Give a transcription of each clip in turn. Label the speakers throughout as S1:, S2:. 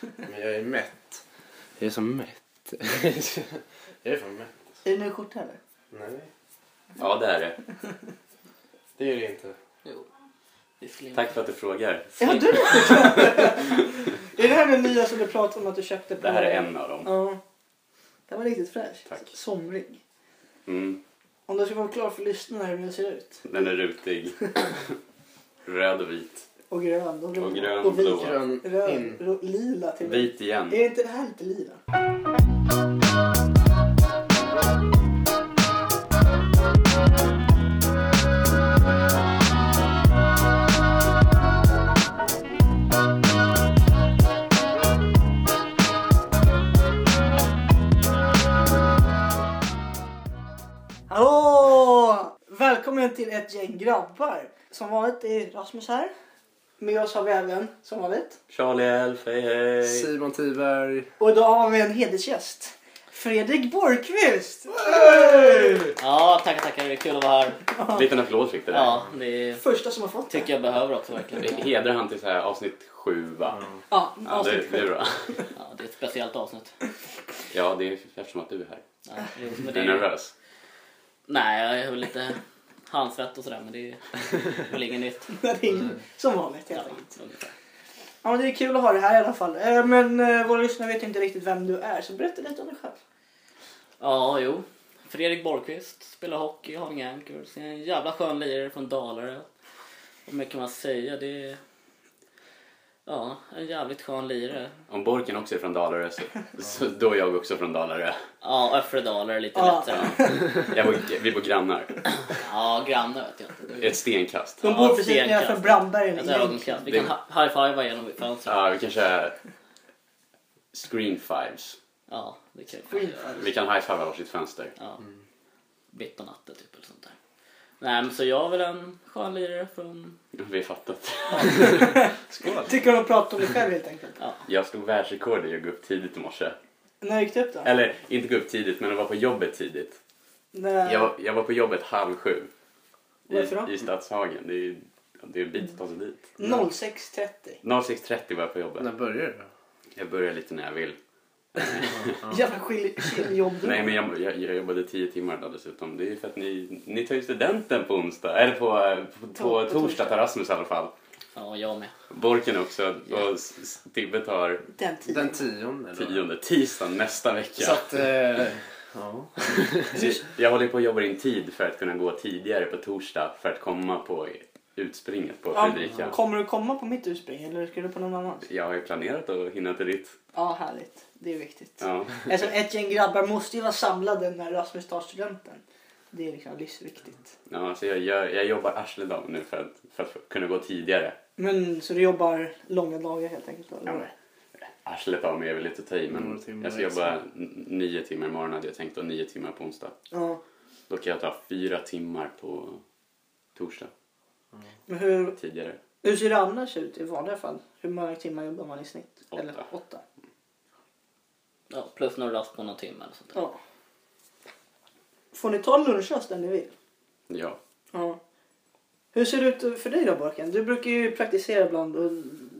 S1: Men jag är mätt. Jag är så mätt. jag är fan mätt.
S2: Är det en ny skjorta eller?
S1: Nej,
S3: Ja, det är det.
S1: det är det inte.
S2: Jo. Det skulle
S3: Tack för att du frågar.
S2: Ja, du Är det här den nya som du pratade om att du köpte? På...
S3: Det här är en av dem.
S2: Ja. Den var riktigt fräsch.
S3: Tack.
S2: Somrig.
S3: Mm.
S2: Om du ska vara klar för lyssnarna hur den ser ut.
S3: Den är rutig. Röd och vit.
S2: Och grön. Och,
S3: Och grön
S2: och
S3: och
S2: vit.
S3: blå.
S1: Grön
S2: Röd.
S1: in.
S2: ro- Lila till och med.
S3: Vit igen.
S2: Är inte det här lite lila? Hallå! Välkommen till ett gäng grabbar. Som vanligt är Rasmus här. Med oss har vi även, som vanligt,
S3: Charlie Elf, hej hej.
S1: Simon Tiberg.
S2: och idag har vi en hedersgäst. Fredrik Borgqvist!
S4: Ja, tackar, tackar. Det är kul att vara här.
S3: Liten applåd fick det där.
S4: Ja, det
S2: Första som har fått det.
S4: tycker jag behöver också verkligen.
S3: Hedrar han till så här avsnitt sju
S1: Mm.
S3: va?
S2: Ja,
S3: Ja, det,
S2: avsnitt
S3: det är
S2: sju.
S3: bra.
S4: Ja, det är ett speciellt avsnitt.
S3: Ja, det är eftersom att du är här.
S4: Ja, jo, men
S3: Du
S4: det
S3: är
S4: är...
S3: nervös.
S4: Nej, jag är väl lite handsvett och sådär, men det är väl inget nytt.
S2: Det är ingen- Som vanligt helt
S4: Ja,
S2: enkelt.
S4: ungefär.
S2: Ja, men det är kul att ha det här i alla fall. Eh, Men eh, våra lyssnare vet inte riktigt vem du är, så berätta lite om dig själv.
S4: ja, jo. Fredrik Borgqvist spelar hockey i Haninge Anchors. Är En jävla skön lirare från Dalarö. Vad mycket kan man säga? Det är... Ja, en jävligt skön lirare.
S3: Om Borken också är från Dalarö så, så då är jag också från Dalarö.
S4: Ja, Öfre Dalarö lite
S2: Ja.
S4: lättare.
S3: Jag bor, vi bor grannar.
S4: Ja, granne vet jag inte.
S3: Ett stenkast.
S2: De
S4: Ja,
S2: bor precis
S4: stenkast. Alltså,
S2: nedanför Brandbergen.
S4: Ett
S2: i Jönköping.
S4: ögonkast. Vi kan
S3: Det-
S4: hi- high-fiva genom fönstret.
S3: Ja, vi kan köra screen fives.
S4: Ja, det kan jag fan göra.
S3: Vi kan high-fiva varsitt fönster.
S4: Ja. Mitt på natten typ eller sånt där. Nej men så jag är väl en skön lirare från...
S3: Vi har fattat.
S2: Tycker de pratar om dig själv helt enkelt.
S3: Jag slog världsrekord i att gå upp tidigt i morse.
S2: När gick du upp då?
S3: Eller inte gå upp tidigt, men jag var på jobbet tidigt.
S2: När...
S3: Jag, jag var på jobbet halv sju.
S2: Varför då?
S3: I, i Stadshagen. Det är ju det är en bit att ta sig dit.
S2: 06.30.
S3: 06.30 var jag på jobbet.
S1: När började det?
S3: Jag börjar lite när jag vill.
S2: Jävla skil- chilljobb du
S3: Nej men jag, jag, jag jobbade 10 timmar då dessutom. Det är ju för att ni, ni tar ju studenten på onsdag. Eller på, på, på,
S2: på
S3: torsdag,
S2: torsdag.
S3: tar Rasmus i alla fall.
S4: Ja, jag med.
S3: Borken också. Och S- S- Tibbe tar
S2: Den tiden.
S1: Den tionde. eller?
S3: tionde tisdagen nästa vecka.
S1: Så att, eh, ja.
S3: Så Jag håller på att jobba in tid för att kunna gå tidigare på torsdag för att komma på utspringet på
S2: Ja,
S3: Fredrika.
S2: kommer du komma på mitt urspring eller ska du på någon annans?
S3: Jag har ju planerat att hinna till ditt.
S2: Ja, härligt. Det är viktigt.
S3: Ja.
S2: Alltså ett gäng grabbar måste ju vara samlade när Rasmus tar studenten. Det är liksom livsviktigt.
S3: Ja, så jag, gör, jag jobbar arsledag nu för att, för att kunna gå tidigare.
S2: Men så du jobbar långa dagar helt enkelt? Eller?
S3: Ja, men- Arslet av mig är väl lite att ta i,
S1: Några
S3: men
S1: timmar
S3: jag ska
S1: extra.
S3: jobba n- nio timmar imorgon hade jag tänkt och nio timmar på onsdag.
S2: ja.
S3: Då kan jag ta fyra timmar på torsdag
S2: Men hur,
S3: tidigare.
S2: hur ser det annars ut i vanliga fall? Hur många timmar jobbar man i snitt?
S3: Åtta.
S2: Eller åtta.
S4: Ja, plus några rast på någon timme eller sånt där.
S2: Ja. Får ni ta lunchrast när ni vill?
S3: Ja.
S2: Ja. Hur ser det ut för dig då Borken? Du brukar ju praktisera ibland och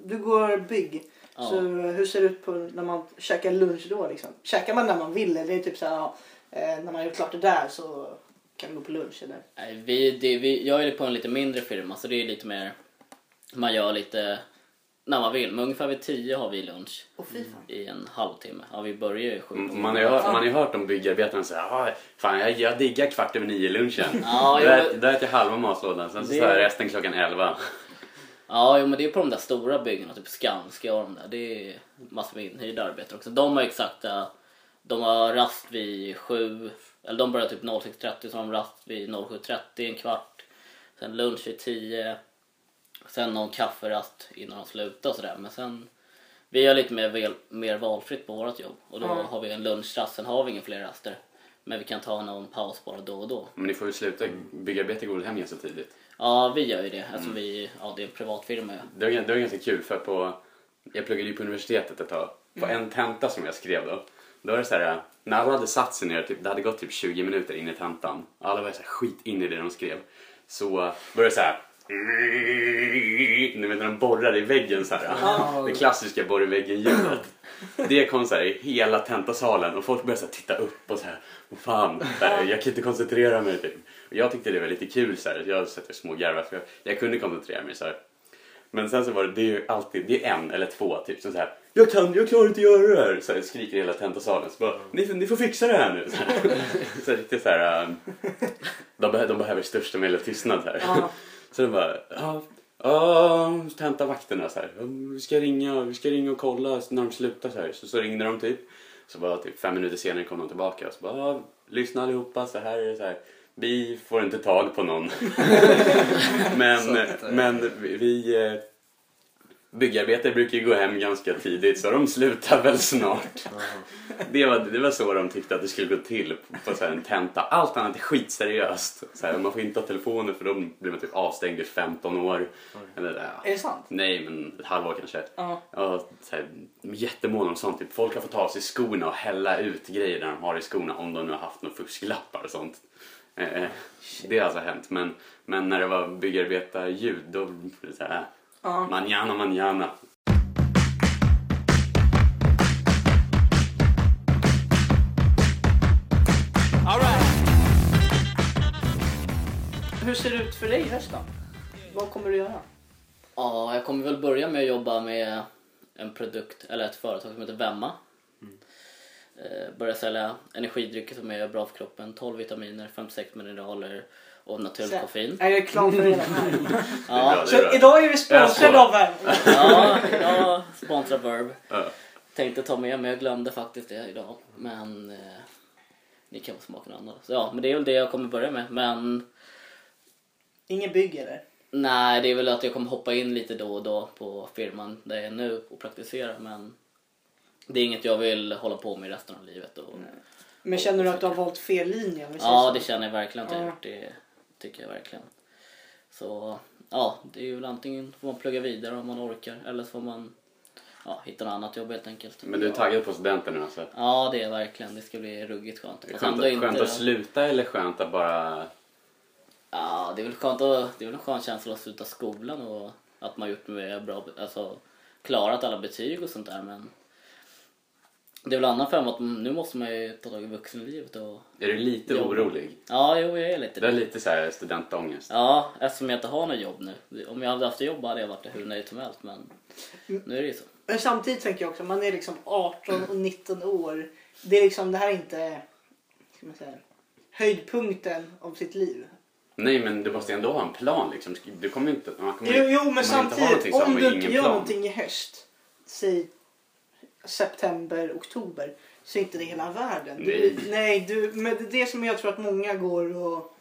S2: du går bygg.
S4: Ja.
S2: Så hur ser det ut på när man käkar lunch då liksom? Käkar man när man vill eller är det typ så här, ja, eh, när man har gjort klart det där så kan vi gå på lunch eller?
S4: Nej, vi, det, vi, jag är på en lite mindre firma så det är lite mer... Man gör lite när man vill. Men ungefär vid tio har vi lunch.
S2: Åh fy fan.
S4: I en halvtimme. Ja, vi börjar ju sju på
S3: Mm, Man har ju hört, man har ju hört om byggarbetarna säga ah, fan jag, jag diggar kvart över nio-lunchen.
S4: Ja,
S3: då,
S4: jo,
S3: ät-
S4: men-
S3: då äter jag halva matlådan, sen så
S4: Det-
S3: tar jag resten klockan elva.
S4: Ja, jo, men det är på de där stora byggena, typ Skanska och de där. Det är massor med inhyrda arbetare också. De har exakta... De har rast vid sju, eller de börjar typ 06.30, så har de rast vid 07.30 en kvart. Sen lunch vid 10. Sen någon kafferast innan de slutar och sådär. Men sen... Vi gör lite mer, väl, mer valfritt på vårt jobb och då
S2: Ja.
S4: har vi en lunchrast, sen har vi inga fler raster. Men vi kan ta någon paus bara då och då.
S3: Men ni får ju sluta, byggarbetare går väl hem ganska tidigt.
S4: Ja, vi gör ju det. Alltså vi, ja det är en privatfirma ju.
S3: Det var, det var ganska kul för på, jag pluggade ju på universitetet ett tag. På
S4: Mm.
S3: en tenta som jag skrev då, då var det så här, när alla hade satt sig ner, typ, det hade gått typ 20 minuter in i tentan, alla var så här skit in i det de skrev. Så var det så här, Ni vet när de borrar i väggen så här. Det klassiska borr i väggen-ljudet. Det kom så här i hela tentasalen och folk började så här titta upp och så här. "Åh, Fan, så här, jag kan inte koncentrera mig. Typ. Och jag tyckte det var lite kul så här. Jag satt och smågarvade för jag, jag kunde koncentrera mig så här. Men sen så var det, det är ju alltid, det är en eller två typ som så här. Jag kan, jag klarar inte göra det här. Så här, skriker hela tentasalen. Så bara, ni, får- ni får fixa det här nu. Så här, så här, riktigt så här. ähm, de, be- de behöver största möjliga tystnad här.
S2: Ja.
S3: Så de bara, ja, ja, tentavakterna så här. "Ja, Vi ska ringa, vi ska ringa och kolla när de slutar så här. Så, så ringde de typ. Så bara typ fem minuter senare kom de tillbaka och så bara, "Ja, lyssna allihopa så här är det så här. Vi får inte tag på någon. men, men vi- vi eh, byggarbetare brukar ju gå hem ganska tidigt så de slutar väl snart. Det var, det var så de tyckte att det skulle gå till på, på så här en tenta. Allt annat är skitseriöst. Så här, man får inte ha telefoner för då blir man typ avstängd i 15 år. Eller,
S2: Är
S3: ja.
S2: det sant?
S3: Nej, men ett halvår kanske.
S2: Ja.
S3: Ja, så här, jättemån om sånt. Typ, folk har fått ta av sig skorna och hälla ut grejer där de har i skorna om de nu har haft några fusklappar och sånt. Eh, eh, det har alltså hänt. Men, men när det var byggarbetarljud då blev det så här,
S2: Ja.
S3: manjana, manjana.
S2: Hur ser det ut för dig i höst då? Vad kommer du göra?
S4: Ja, jag kommer väl börja med att jobba med en produkt eller ett företag som heter Vemma. Eh, Börja sälja energidrycker som är bra för kroppen, 12 vitaminer, 56 mineraler och naturlig koffein.
S2: Är jag är klar för det redan här.
S3: Det är bra,
S4: Ja,
S3: det är
S2: Så
S3: bra.
S2: idag är vi sponsrade
S3: Jag
S2: av Värmland.
S4: ja, ja sponsrar Verb.
S3: Ja.
S4: Tänkte ta med men jag glömde faktiskt det idag. Men eh, ni kan få smaka något annat. Så, ja, men det är väl det jag kommer börja med. Men
S2: Ingen bygg eller?
S4: nej, det är väl att jag kommer hoppa in lite då och då på firman där jag är nu och praktisera. Men det är inget jag vill hålla på med resten av livet. Och,
S2: Men känner du att du har valt fel linje? Om vi säger
S4: ja,
S2: så?
S4: det känner jag verkligen att jag har
S2: Ja.
S4: gjort. Det tycker jag verkligen. Så ja, det är ju väl antingen får man plugga vidare om man orkar eller så får man ja, hitta något annat jobb helt enkelt.
S3: Men du är
S4: Ja.
S3: taggad på studenten nu alltså?
S4: Ja, det är verkligen. Det ska bli ruggigt skönt.
S3: Det är
S4: Fast
S3: Skönt,
S4: ändå
S3: att- skönt
S4: inte-
S3: att sluta eller skönt att bara...
S4: Ja, det är väl skönt att, det är väl en skön känsla att sluta skolan och att man gjort med bra, alltså klarat alla betyg och sånt där men det är väl annan femma att nu måste man ju ta tag i vuxenlivet och
S3: Är du lite
S4: Ja.
S3: orolig?
S4: ja, jo, jag
S3: Du har
S4: är lite
S3: lite så här studentångest?
S4: Ja, eftersom jag inte har något jobb nu. Om jag hade haft jobb hade jag varit hur nöjd som helst men nu är det ju så.
S2: Men samtidigt tänker jag också, man är liksom 18 och 19 år. Det är liksom, det här är inte ska man säga, höjdpunkten av sitt liv.
S3: Nej, men du måste ändå ha en plan liksom. Du kommer inte... Man kommer,
S2: Jo, jo
S3: man
S2: men
S3: inte ha någonting
S2: samtidigt,
S3: så har
S2: om
S3: man
S2: du
S3: ingen
S2: inte gör
S3: plan.
S2: någonting i höst, säg september, oktober, så är inte det hela världen. Du,
S3: Nej.
S2: nej du, men det är det som jag tror att många går och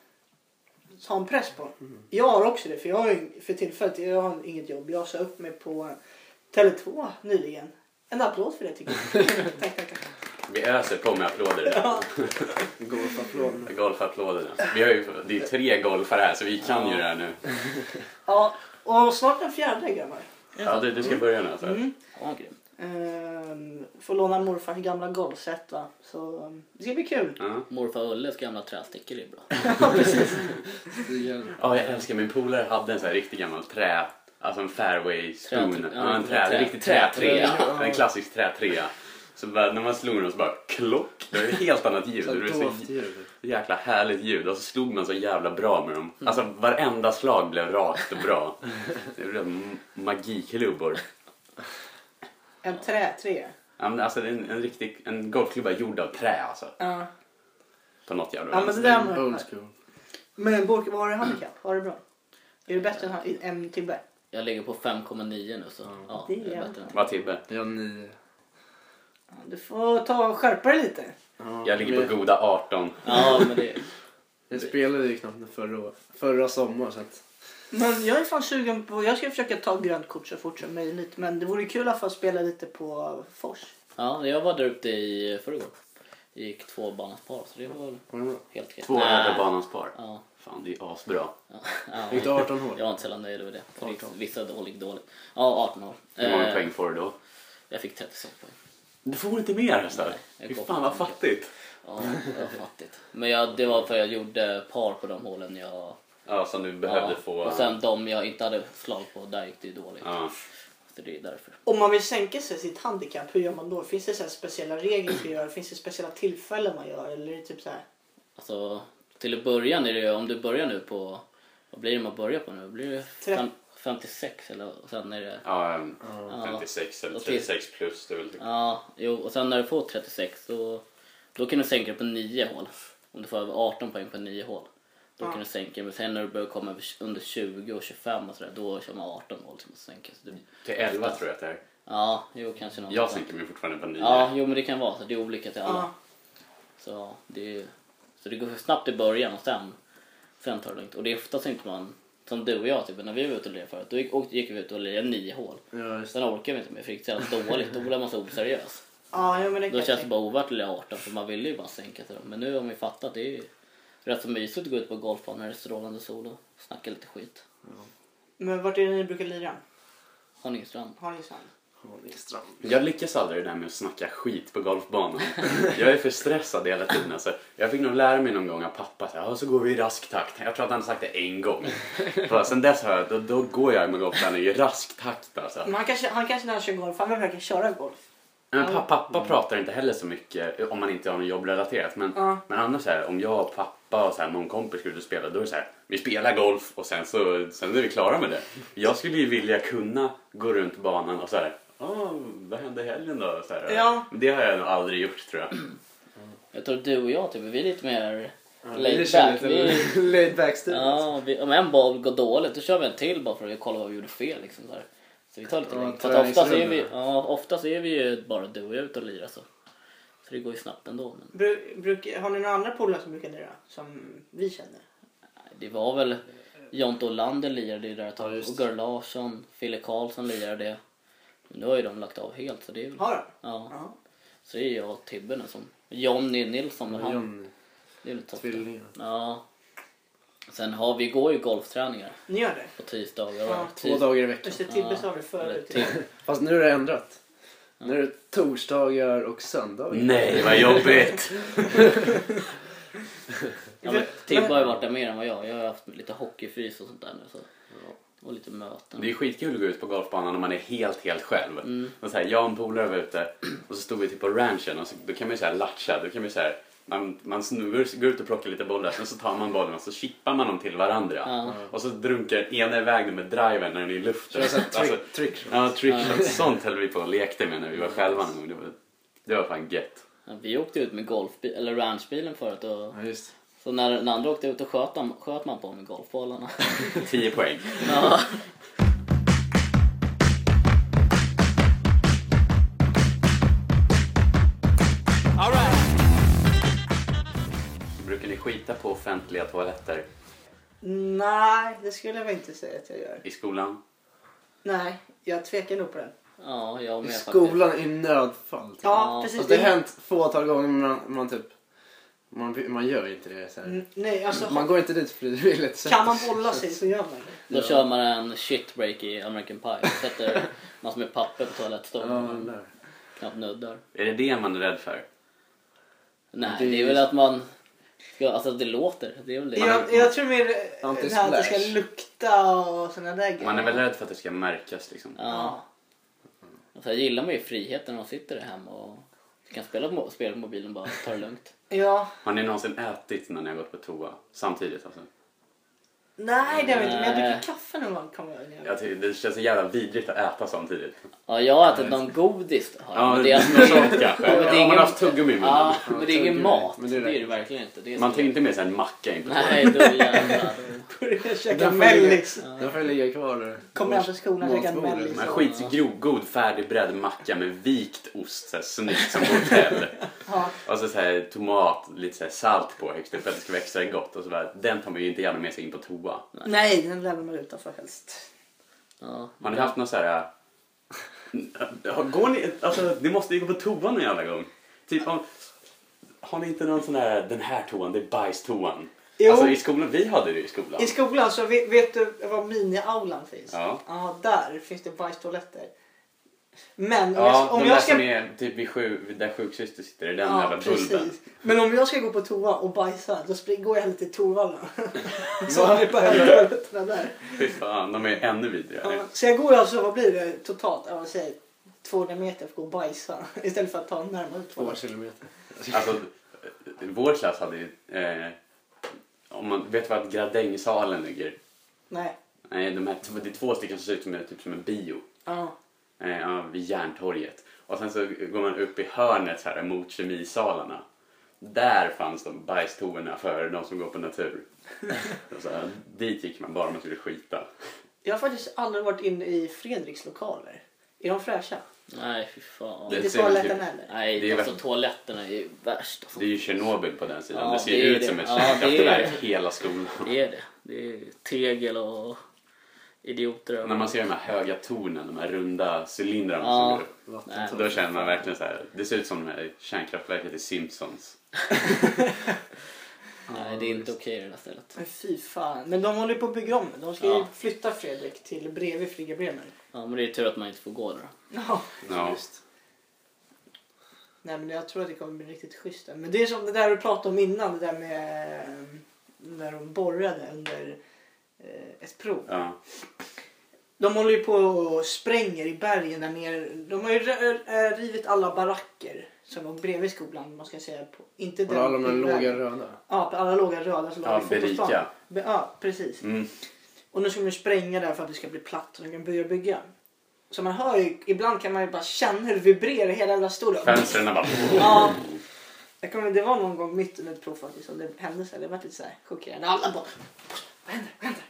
S2: har en press på. Jag har också det, för jag har ju- för tillfället jag har inget jobb. Jag sa upp mig på Tele2 nyligen. En applåd för det tycker jag. tack, tack, tack.
S3: Vi öser på med applåder.
S2: Ja.
S1: Golfapplåderna.
S3: Golfapplåderna. Vi har ju, det är ju tre golfare här så vi kan ju det här nu.
S2: Ja, och snart den fjärde grabbar.
S3: Ja, du, du ska börja nu alltså.
S4: Ja, grymt.
S2: Ehm, får låna morfars gamla golfset va. Så um, det ska bli kul.
S3: Ja.
S4: Morfar Ulles gamla trästickor är bra.
S3: Ja, jag älskar min polare hade en sån här riktig gammal trä, alltså en fairway spoon.
S4: Träträ-
S3: Ja, en, trä,
S4: ja,
S3: en riktig
S4: trä-
S3: trätrea.
S1: trätrea.
S3: En klassisk trätrea. Så bara, när man slog den så bara klock. Det var ett helt annat ljud. Det var så jäkla härligt ljud. Och så slog man så jävla bra med dem.
S4: Mm.
S3: Alltså varenda slag blev rakt och bra. Det blev m- magiklubbor.
S2: En trätrea.
S3: Ja, men Alltså det är en, en riktig en golfklubba gjord av trä alltså.
S2: Ja.
S3: På något jävla
S2: Ja, men det
S3: vänster.
S2: där
S1: Old
S2: morfar.
S1: school.
S2: Men Bork, vad har du i handikapp? Har du bra? Är du bättre än han? i- en Tibbe?
S4: Jag ligger på 5,9 nu så ja,
S2: Det
S4: det
S2: är
S4: är bättre. än-
S3: Vad Tibbe?
S1: Jag har nio.
S2: Ja, Du får ta och skärpa dig lite.
S1: Ja,
S3: Jag
S1: men
S3: ligger på goda 18.
S4: Ja, men det...
S1: Jag spelade ju knappt förra, år- förra sommaren så att...
S2: Men jag är fan sugen på... Jag ska försöka ta grönt kort så fort som möjligt. Men det vore kul i alla fall att spela lite på Fors.
S4: Ja, jag var där ute i förrgår. Gick två bananspar så det var väl
S1: Var det bra?
S4: helt okej.
S3: Två
S4: Nej.
S3: över banans par.
S4: Ja,
S3: Fan det är ju asbra.
S4: ja.
S1: Gick det 18 hål?
S4: Jag var inte så jävla nöjd över det. För det är
S1: 18.
S4: Vissa dåligt dåligt. Ja, 18 år. Eh,
S3: Hur många poäng får du då?
S4: Jag fick 36 poäng.
S3: Du får inte mer alltså?
S4: jag
S3: Fy
S4: kom
S3: fan vad
S4: inte.
S3: fattigt.
S4: Ja, det var fattigt. Men jag, det var för jag gjorde par på de hålen jag
S3: Ja, som du behövde
S4: ja.
S3: få...
S4: Och sen de jag inte hade slag på, där gick det ju dåligt.
S3: Ja.
S4: Så det är därför.
S2: Om man vill sänka sig sitt handikapp, hur gör man då? Finns det så här speciella regler för att göra? Finns det speciella tillfällen man gör? Eller är det typ så här?
S4: Alltså, till att börja är det ju, om du börjar nu på, vad blir det man börjar på nu? Blir det
S2: Tre-
S4: fem, 56 eller och sen är det,
S3: Ja, ehm,
S4: Ja.
S3: 56 eller
S4: Och till-
S3: 36 plus. Det är väl typ...
S4: ja, jo, och sen när du får 36 då, då kan du sänka det på 9 hål. Om du får över 18 poäng på 9 hål. Då
S2: Ja.
S4: kan du sänka det, men sen när du börjar komma över tj- under 20 och 25 och sådär, då kör man 18 hål som måste sänkas. Det,
S3: Till 11 tror jag att det är.
S4: ja, jo kanske något
S3: Jag
S4: sånt.
S3: sänker mig fortfarande på 9.
S4: Ja, jo men det kan vara så. Det är olika till alla.
S2: Ja.
S4: Så det, är- så det går för snabbt i början och sen, sen tar det lugnt. Och det är oftast inte man, som du och jag, typ, när vi var ute och lirade förut, då gick, och, gick vi ut och lirade nio hål.
S1: Ja, just det.
S4: Sen orkar vi inte mer för det gick så jävla dåligt. Då blev man så oseriös.
S2: Ja, ja men det kan
S4: Då
S2: jag
S4: känns det
S2: tänka.
S4: bara ovärt att lira 18 för man ville ju bara sänka till dem. Men nu har man ju fattat att det är ju rätt så mysigt att gå ut på golfbanan när det är strålande sol och snacka lite skit.
S2: Men vart är det ni brukar lira?
S4: Honungsstrand.
S2: Har ni sand?
S1: Honungsstrand.
S3: Jag lyckas aldrig det där med att snacka skit på golfbanan. Jag är för stressad hela tiden. Alltså. Jag fick nog lära mig någon gång av pappa så, här, "Ja, så går vi i rask takt. Jag tror att han har sagt det en gång. För sen dess har jag, då, då går jag med golfträning i rask takt alltså.
S2: Men han kanske, han kanske när han kör golf, han verkar köra golf.
S3: Men pa- pappa pratar inte heller så mycket eh, om man inte har något jobbrelaterat. Men,
S2: Ja.
S3: men annars så här, om jag och pappa och så här, någon kompis skulle spela då är det så här, vi spelar golf och sen så sen är vi klara med det. Jag skulle ju vilja kunna gå runt banan och så här, "Ah, vad hände i helgen då? Så här,
S2: Ja.
S3: Men Det har jag nog aldrig gjort tror jag.
S4: Jag tror du och jag typ, vi är lite mer
S1: Det
S4: laid
S1: känns
S4: back.
S1: lite
S4: Vi är
S1: Laid back stil.
S4: Ja, vi, om en boll går dåligt då kör vi en till bara för att kolla vad vi gjorde fel. Liksom, där. Så vi tar lite
S1: Ja,
S4: längre. För att oftast är, vi,
S1: träningsrundorna.
S4: ja, oftast är vi ju bara du och jag ute och lirar så. Så det går ju snabbt ändå. Men
S2: Bru, bruk, har ni några andra polare som brukar lira? Som vi känner?
S4: nej, det var väl Jonte Olander lirade ju där ett tag.
S1: Ja, just
S4: och Gurra Larsson, Fille Karlsson lirade det. Men nu har ju de lagt av helt så det är väl...
S2: Har de?
S4: Ja.
S2: Ja.
S4: Så det är jag och Tibbe nu som... Jonny Nilsson, men han...
S1: John,
S4: Det är lite tufft.
S1: tvillingen.
S4: Ja. Sen har vi, går ju golfträningar
S2: Ni gör det?
S4: på tisdagar.
S2: Ja.
S4: och
S1: Två
S4: tis-
S1: dagar i veckan.
S2: Just det, Tibbe
S4: Ja.
S2: sa det
S4: eller
S2: förut.
S4: tis-
S1: Fast nu är det ändrat. Nu är det torsdagar och söndagar.
S3: Nej, vad jobbigt!
S4: Ja, men Tibbe har ju varit där mer än vad jag. Jag har haft lite hockeyfys och sånt där nu. Så. Och lite möten.
S3: Det är skitkul att gå ut på golfbanan när man är helt, helt själv. Och så här, jag och en polare var ute och så stod vi typ på ranchen och så, då kan man ju såhär latcha, då kan man ju såhär man, man snurrar, går ut och plockar lite bollar, sen så tar man bollen och så chippar man dem till varandra.
S4: Ja.
S3: Och så drunkar ena iväg den med driven när den är i luften.
S1: Kör så här
S3: Alltså,
S1: tryck- tryck.
S3: ja, trickshots. Sånt höll vi på och lekte med när vi var själva någon gång. Det var, det var fan gött.
S4: Ja, vi åkte ut med golfbil, eller ranchbilen förut. Och,
S1: Ja, just
S4: så när den andra åkte ut och sköt, de, sköt man på med golfbollarna.
S3: 10 poäng.
S4: ja.
S3: Brukar ni skita på offentliga toaletter
S2: Nej, det skulle jag väl inte säga att jag gör.
S3: i skolan?
S2: Nej, jag tvekar nog på den.
S4: ja, jag
S1: det.
S4: med faktiskt.
S1: Skolan i nödfall. Typ.
S2: Ja,
S4: Ja,
S2: precis.
S1: Fast det har hänt fåtal gånger men man, man typ... Man, man gör inte det. Så här.
S2: N- Nej, alltså
S1: Man går inte dit frivilligt. så-
S2: kan man bolla sig så gör man det.
S4: Då kör man en shit break i American Pie. Sätter massor med papper på
S1: Ja,
S4: toalettstolen.
S1: där.
S4: knappt nuddar.
S3: Är det det man är rädd för?
S4: Nej,
S1: Det
S4: det
S1: är
S4: är,
S1: ju-
S4: väl att man... Ska, alltså att det låter. Det är väl det.
S2: Jag, jag tror mer det här att det ska
S1: Anti-splash.
S2: lukta och sådana där grejer.
S3: Man är väl rädd för att det ska märkas liksom.
S4: Ja. Alltså, jag gillar man ju friheten när man sitter där hemma och kan spela på, mo- spela på mobilen bara ta det lugnt.
S2: Ja.
S3: Har ni någonsin ätit när ni har gått på toa? Samtidigt alltså?
S2: Nej, det har vi inte. Men jag
S4: Nej.
S2: dricker kaffe när man kommer ner.
S3: Jag tycker, det känns så jävla vidrigt att äta samtidigt.
S4: Ja, jag har ätit någon godis. då, har jag,
S3: Ja,
S4: men
S3: det
S4: alltså-
S3: är något sånt kanske.
S4: men det är
S3: Ja, man
S4: ingen-
S3: har haft tuggummi i munnen.
S4: Ja, men det är ingen
S1: tuggummi.
S4: mat.
S1: Men det
S4: det,
S1: är
S4: är det
S1: rätt.
S4: verkligen inte. Det är
S3: Man
S4: så-
S3: tar ju inte med sig en macka in på toaletten.
S4: Nej, då jävlar.
S2: Börjar käka
S1: Den får ligga-
S2: mellis.
S1: Den får ligga kvar där.
S2: Kommer hem från skolan och käkar en
S1: Matbordet.
S2: mellis.
S3: Men skitgrov, god färdigbredd macka med vikt ost, så här, snyggt som på hotell.
S2: Ja.
S3: Och så, så här, tomat, lite så här, salt på högst upp för att det ska vara extra gott. Och så bara, den tar man ju inte gärna med sig in på toa.
S2: Nej, den lämnar man utanför helst.
S4: Ja.
S3: Har ni haft någon så här... äh, Går ni... Alltså, ni måste ju gå på toan någon jävla gång. Typ om... Har ni inte någon sån här, den här toan, det är bajstoan?
S2: Jo.
S3: Alltså i skolan, vi hade det i skolan.
S2: I skolan så vet, vet du var mini-aulan finns?
S3: Ja.
S2: där finns det bajstoaletter. Men om
S3: Ja,
S2: jag, om
S3: de där
S2: jag ska...
S3: som är typ vid sju, där sjuksyster sitter, det är den jävla bulben.
S2: precis. Men om jag ska gå på toa och bajsa då spring- går jag hellre till Torvalla. så har jag bara toaletterna där.
S3: Fy fan, de är ännu vidrigare.
S2: Ja, Så jag går ju alltså, vad blir det totalt? Ja, vad säger jag, 200 meter för att gå och bajsa istället för att ta närmare två.
S1: Två kilometer.
S3: Alltså, vår klass hade ju... Eh, om man, vet du var Gradängsalen ligger?
S2: Nej.
S3: Nej, de här, det är två stycken som ser ut som, en- typ som en bio.
S2: Ja.
S3: Eh, ja, vid Järntorget. Och sen så går man upp i hörnet så här mot kemisalarna. Där fanns de bajstoorna för de som går på natur. Och så här, dit gick man bara om man skulle skita.
S2: Jag har faktiskt aldrig varit inne i Fredriks lokaler. Är de fräscha?
S4: Nej, fy fan.
S3: Det-
S2: Inte
S3: ser väl
S2: toaletten
S3: typ-
S2: heller?
S4: Nej,
S3: det är
S4: alltså
S3: väl-
S4: toaletterna är ju värst. Alltså.
S3: Det är ju Tjernobyl på den sidan.
S4: Ja,
S3: det ser
S4: det
S3: ju
S4: är
S3: ut
S4: det.
S3: som ett
S4: Ja, det är
S3: kärnkraftverk hela skolan.
S4: Det är det. Det är tegel och idioter.
S3: När man ser de här höga tornen, de här runda cylindrarna
S4: Ja.
S3: som går upp.
S4: Nej,
S1: Vatten.
S3: Då känner man verkligen så här. Det ser ut som det här kärnkraftverket i Simpsons.
S4: Nej, det är inte okej det där stället.
S2: Men fy fan. Men de håller ju på att bygga om. De ska ju
S4: Ja.
S2: flytta Fredrik till bredvid Frigga Bremer.
S4: Ja, men det är tur att man inte får gå där.
S2: Ja.
S3: Ja.
S1: Just.
S2: Nej men jag tror att det kommer bli riktigt schysst. där. Men det är som det där du pratade om innan. Det där med eh, när de borrade under eh, ett prov.
S3: Ja.
S2: De håller ju på och spränger i bergen där nere. De har ju r- r- rivit alla baracker som låg bredvid skolan. Man ska säga. På, inte
S1: Var det alla de här
S2: på
S1: låga
S2: vägen.
S1: röda?
S2: Ja, alla låga röda som låg
S3: Ja,
S2: vid fotbollsplanen.
S3: Berika.
S2: Be- Ja, precis.
S3: Mm.
S2: Och nu ska de spränga där för att det ska bli platt och de kan börja bygga. Så man hör ju, ibland kan man ju bara känna hur det vibrerar i hela jävla stolen.
S3: Fönstren bara...
S2: Ja. Jag kommer, det var någon gång mitt under ett prov faktiskt som det hände så här. Det var lite så här chockerande. Alla bara, vad händer, vad händer?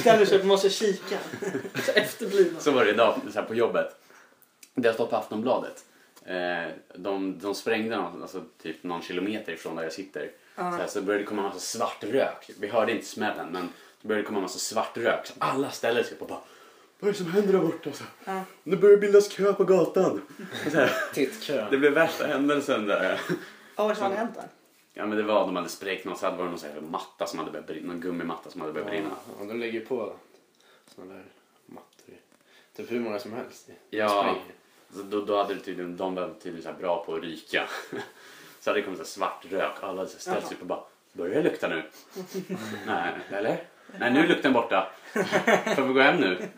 S2: Ställer sig upp och måste kika. Så efterbliven.
S3: Så var det idag så här på jobbet. Det stod på Aftonbladet. Eh, de, de sprängde någon, alltså, typ någon kilometer ifrån där jag sitter. Så, här, så började det komma en massa svart rök. Vi hörde inte smällen men det började komma en massa svart rök. Så alla ställde sig upp och bara Vad är det som händer där borta? Så, här,
S2: Ja.
S3: Nu börjar det bildas kö på gatan. Så här, det
S1: Tittkö.
S3: blev värsta händelsen där.
S2: Ja, vad fan hänt där?
S3: Ja men det var, de hade sprängt någon, så hade det varit någon så här matta som hade börjat brinna, någon gummimatta som hade börjat brinna.
S1: Ja, de lägger på sådana där mattor. Typ hur många som helst.
S3: Ja,
S1: Spring.
S3: så då, då hade det tydligen, de var tydligen så här bra på att ryka. Så hade det kommit så här svart rök alla hade så här ställt sig upp och bara Börjar det lukta nu? Nej, eller? Nej, nu är lukten borta. Får vi gå hem nu?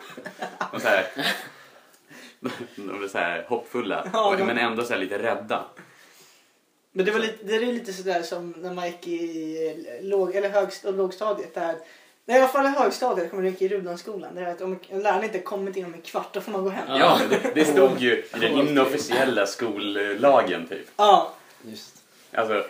S3: Och så här, de blev så här hoppfulla,
S2: Ja,
S3: och-
S2: de-
S3: men ändå så här lite rädda.
S2: Men det, var lite, det är ju lite sådär som när man gick i låg, eller högst, lågstadiet. Där, nej, i alla fall i högstadiet, kommer jag ihåg, i Rudanskolan. Det är att om läraren inte kommit inom en kvart då får man gå hem.
S4: Ja.
S3: Ja, det, det stod ju i den inofficiella skollagen typ.
S2: Ja,
S1: Just.
S3: Alltså,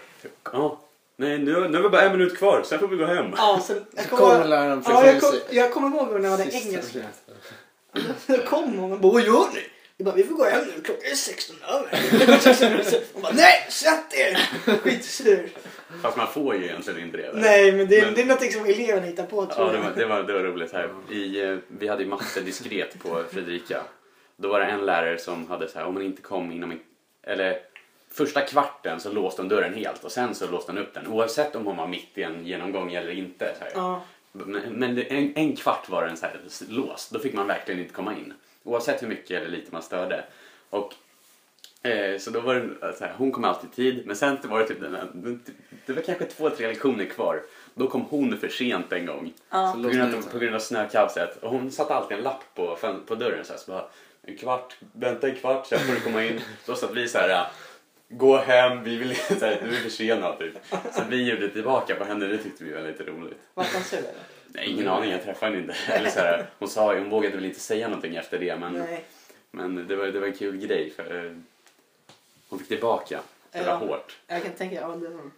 S3: ja. Nej, nu, nu är det bara en minut kvar, sen får vi gå hem.
S2: ja sen, jag
S1: Så kommer
S2: kommer
S1: läraren
S3: liksom
S2: ja, jag, kom,
S1: precis i-
S2: jag kommer ihåg när jag hade
S1: sista
S2: engelska.
S1: minuten.
S2: Då kom hon och bara vad gör ni? Jag bara vi får gå hem nu klockan är 16 över. Hon bara nej sätt er! Skitsur.
S3: Fast man får ju egentligen inte det. där.
S2: Nej men det,
S3: Men-
S2: det är någonting som eleverna hittar på tror
S3: Ja, det var,
S2: jag.
S3: det var, det var roligt. Här. I, eh, vi hade ju matte diskret på Fredrika. Då var det en lärare som hade så här, om man inte kom inom en, eller första kvarten så låste hon dörren helt och sen så låste hon upp den oavsett om hon var mitt i en genomgång eller inte. Så här.
S2: Ja.
S3: Men, men det- en, en kvart var den så här låst, då fick man verkligen inte komma in. Oavsett hur mycket eller lite man störde. Och Eh, så då var det eh, så här, hon kom alltid i tid, men sen var det typ den här, det var kanske två, tre lektioner kvar. Då kom hon för sent en gång.
S1: Så
S3: På grund, av,
S1: låter
S3: på
S1: det.
S3: grund av snökaoset. Och hon satte alltid en lapp på, fön- på dörren så, här, så bara, en kvart, vänta en kvart, sen får du komma in. Då satt vi så här, eh, gå hem, vi vill, så här, du är försenad typ. Så vi gjorde tillbaka på henne, det tyckte vi var lite roligt.
S2: Vart han sur eller?
S3: Nej, ingen aning, jag träffade henne inte. Eller så här, hon sa, hon vågade väl inte säga någonting efter det, men,
S2: Nej.
S3: men det, var, det var en kul grej. För, eh, hon fick tillbaka, det var
S2: Ja.
S3: hårt.
S2: Jag kan tänka, ja det var...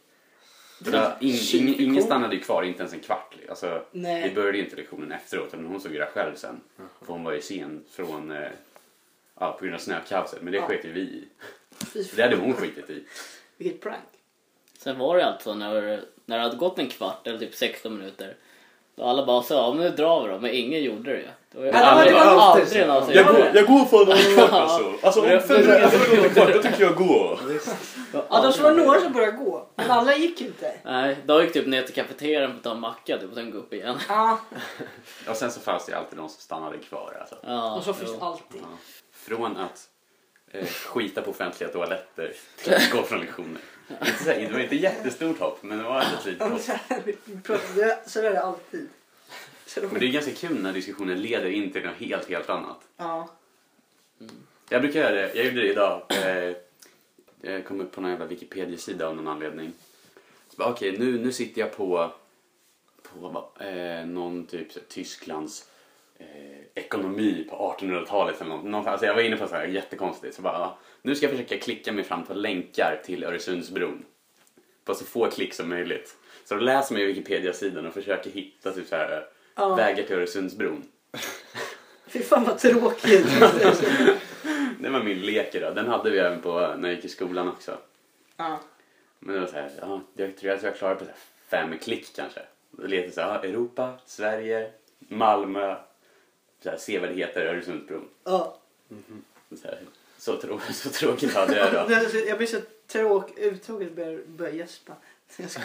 S3: För att in, ingen, ingen stannade ju kvar, inte ens en kvart. Alltså,
S2: Nej.
S3: Vi började ju inte lektionen efteråt, men hon såg det själv sen. För hon var ju sen från, eh, ja, på grund av snökaoset, men det
S2: Ja.
S3: sket ju vi i.
S2: Fy
S3: Det
S2: fan,
S3: hade hon skitit i.
S2: vilket prank.
S4: Sen var det alltså när, när det hade gått en kvart eller typ 16 minuter. Då alla bara sa ja men nu drar vi då, men ingen gjorde det. Det var ju
S2: Ja, det var-
S4: aldrig,
S2: det var alltid
S4: aldrig
S1: så.
S4: någon som
S2: Jag
S4: gjorde
S2: går-
S4: det.
S3: går för en
S4: kvart, alltså. Alltså, om fem minuter
S3: var det kvart, då tycker jag går.
S2: Ja det var några som började gå, men alla gick inte.
S4: Nej, då gick typ ner till kafeterian för att ta en macka typ, och sen gå upp igen.
S2: Ja,
S3: Och sen så fanns det ju alltid de som stannade kvar. Alltså.
S4: Ja,
S2: och så finns
S4: jo.
S2: alltid.
S3: från att eh, skita på offentliga toaletter till att gå från lektioner. Inte så här, det var inte jättestort hopp, men det var ändå ett litet hopp.
S2: Så här, vi pratar- det- Så där är det alltid. Så
S3: Men det är ganska kul när diskussionen leder in till något helt, helt annat.
S2: Ja.
S3: Jag brukar göra det. Jag gjorde det idag. Eh, Jag kom upp på någon jävla Wikipedia-sida av någon anledning. Så bara, Okej, nu, nu sitter jag på, på eh, någon typ så här, Tysklands eh, ekonomi på 1800-talet eller något. Någon, alltså jag var inne på så här jättekonstigt. Så bara, ja, nu ska jag försöka klicka mig fram till länkar till Öresundsbron. På så få klick som möjligt. Så då läser man ju Wikipedia-sidan och försöker hitta typ så här,
S2: Ja.
S3: vägar till Öresundsbron.
S2: Fy fan vad tråkigt.
S3: Det var min lek idag. Den hade vi även på när jag gick i skolan också.
S2: ja.
S3: Men det var så här, ja, jag tror att jag klarade på så här fem klick kanske. Då letade jag så här, ja, Europa, Sverige, Malmö, så här, sevärdheter, Öresundsbron.
S2: Ja.
S3: Så, här, så, trå- så tråkigt hade jag då.
S2: Det- Jag blir så tråkig, uttråkad att börja, börja gäspa. Jag ska...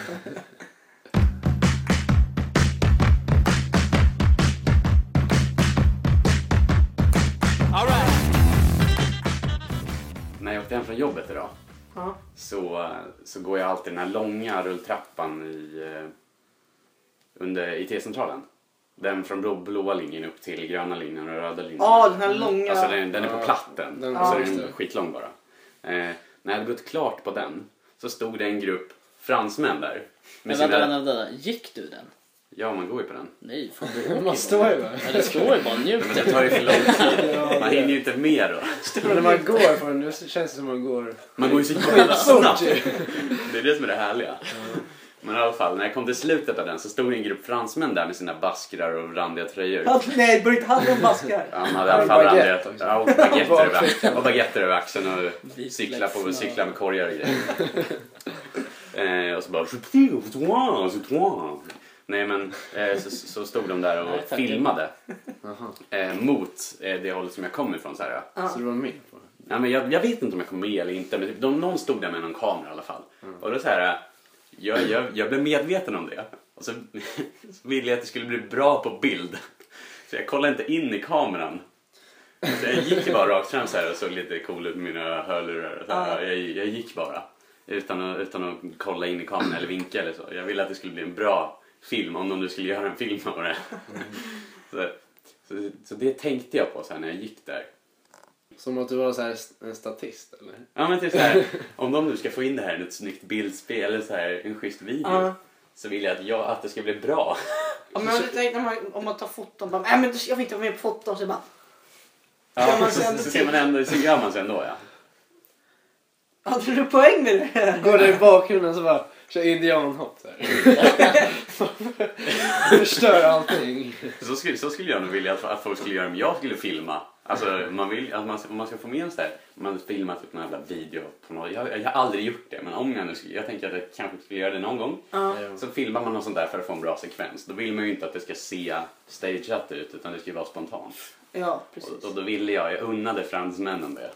S3: När jag åkte hem från jobbet idag
S2: ja.
S3: så, så går jag alltid den här långa rulltrappan i, eh, under IT-centralen. Den från blå, blåa linjen upp till gröna linjen och röda linjen.
S2: Ja, den här långa.
S3: Alltså den, den är på
S1: Ja,
S3: platten.
S1: den-
S3: så
S1: ja,
S3: den
S1: just
S3: är
S1: det.
S3: skitlång bara. Eh, när jag hade gått klart på den så stod det en grupp fransmän där. Med
S4: Men vänta,
S3: sina...
S4: vänta, vänta. Gick du den?
S3: Ja, man går ju på den.
S4: Nej, fan du åker
S1: Man står ju bara.
S4: Ja, det står ju bara njut.
S3: Men det tar ju för lång tid.
S1: Ja,
S3: Man hinner ju inte med då.
S1: Men när man går från nu känns det som man går...
S3: Man går ju så jävla snabbt. Det är det som är det härliga. Men i alla fall, när jag kom till slutet av den så stod det en grupp fransmän där med sina baskrar och randiga tröjor.
S2: Han, nej, börja inte handla om
S3: Ja,
S2: maskar.
S3: han hade i alla
S1: Och
S3: fall
S1: baguette
S3: randiga...
S1: också.
S3: Ja, och baguetter över axeln. Och baguetter över axeln och
S4: Vitlök,
S3: cykla, på,
S4: smör.
S3: cykla med korgar och grejer. eh, och så bara... "Je t'ai, je t'ai, je t'ai." Nej men eh, så, så stod de där och
S4: Nej, tack.
S3: filmade
S1: Aha.
S3: eh, mot eh, det hållet som jag kom ifrån. Så här, ja.
S1: Så du var med på det?
S3: Ja, men jag, jag vet inte om jag kom med eller inte, men typ, de, någon stod där med någon kamera i alla fall. Och då så här, jag, jag, jag blev medveten om det. Och så, så ville jag att det skulle bli bra på bild. Så jag kollade inte in i kameran. Så jag gick ju bara rakt fram så här och såg lite cool ut med mina hörlurar. Och så här, jag, jag gick bara. Utan att, utan att kolla in i kameran eller vinka eller så. Jag ville att det skulle bli en bra film om de nu skulle göra en film av det. Så, så, så det tänkte jag på så här när jag gick där.
S1: Som att du var så här st- en statist eller?
S3: Ja men typ såhär, om de nu ska få in det här i ett snyggt bildspel eller så här, en schysst video
S2: Ja.
S3: så vill jag att, jag att det ska bli bra.
S2: Ja, men jag tänkte när man, om man tar foton, bara, nej men jag vill inte vara med på foton. Så bara,
S3: Ja,
S2: man typ-
S3: så,
S2: sen-
S3: så, ser man ändå, så gör man så ändå ja.
S2: hade du poäng med det här?
S1: Går där i bakgrunden så bara kör indianhopp så här. Förstör allting.
S3: Så skulle, så skulle jag nog vilja att, att folk skulle göra om jag skulle filma. Alltså man vill, att man, om man ska få med en sån där, man filmar typ någon jävla video på något. Jag, jag har aldrig gjort det men om jag nu skulle, jag tänker att jag kanske skulle göra det någon gång.
S1: Ja.
S3: Så filmar man något sånt där för att få en bra sekvens. Då vill man ju inte att det ska se stageat ut utan det ska ju vara spontant.
S2: Ja, precis.
S3: Och, och då ville jag, jag unnade fransmännen det.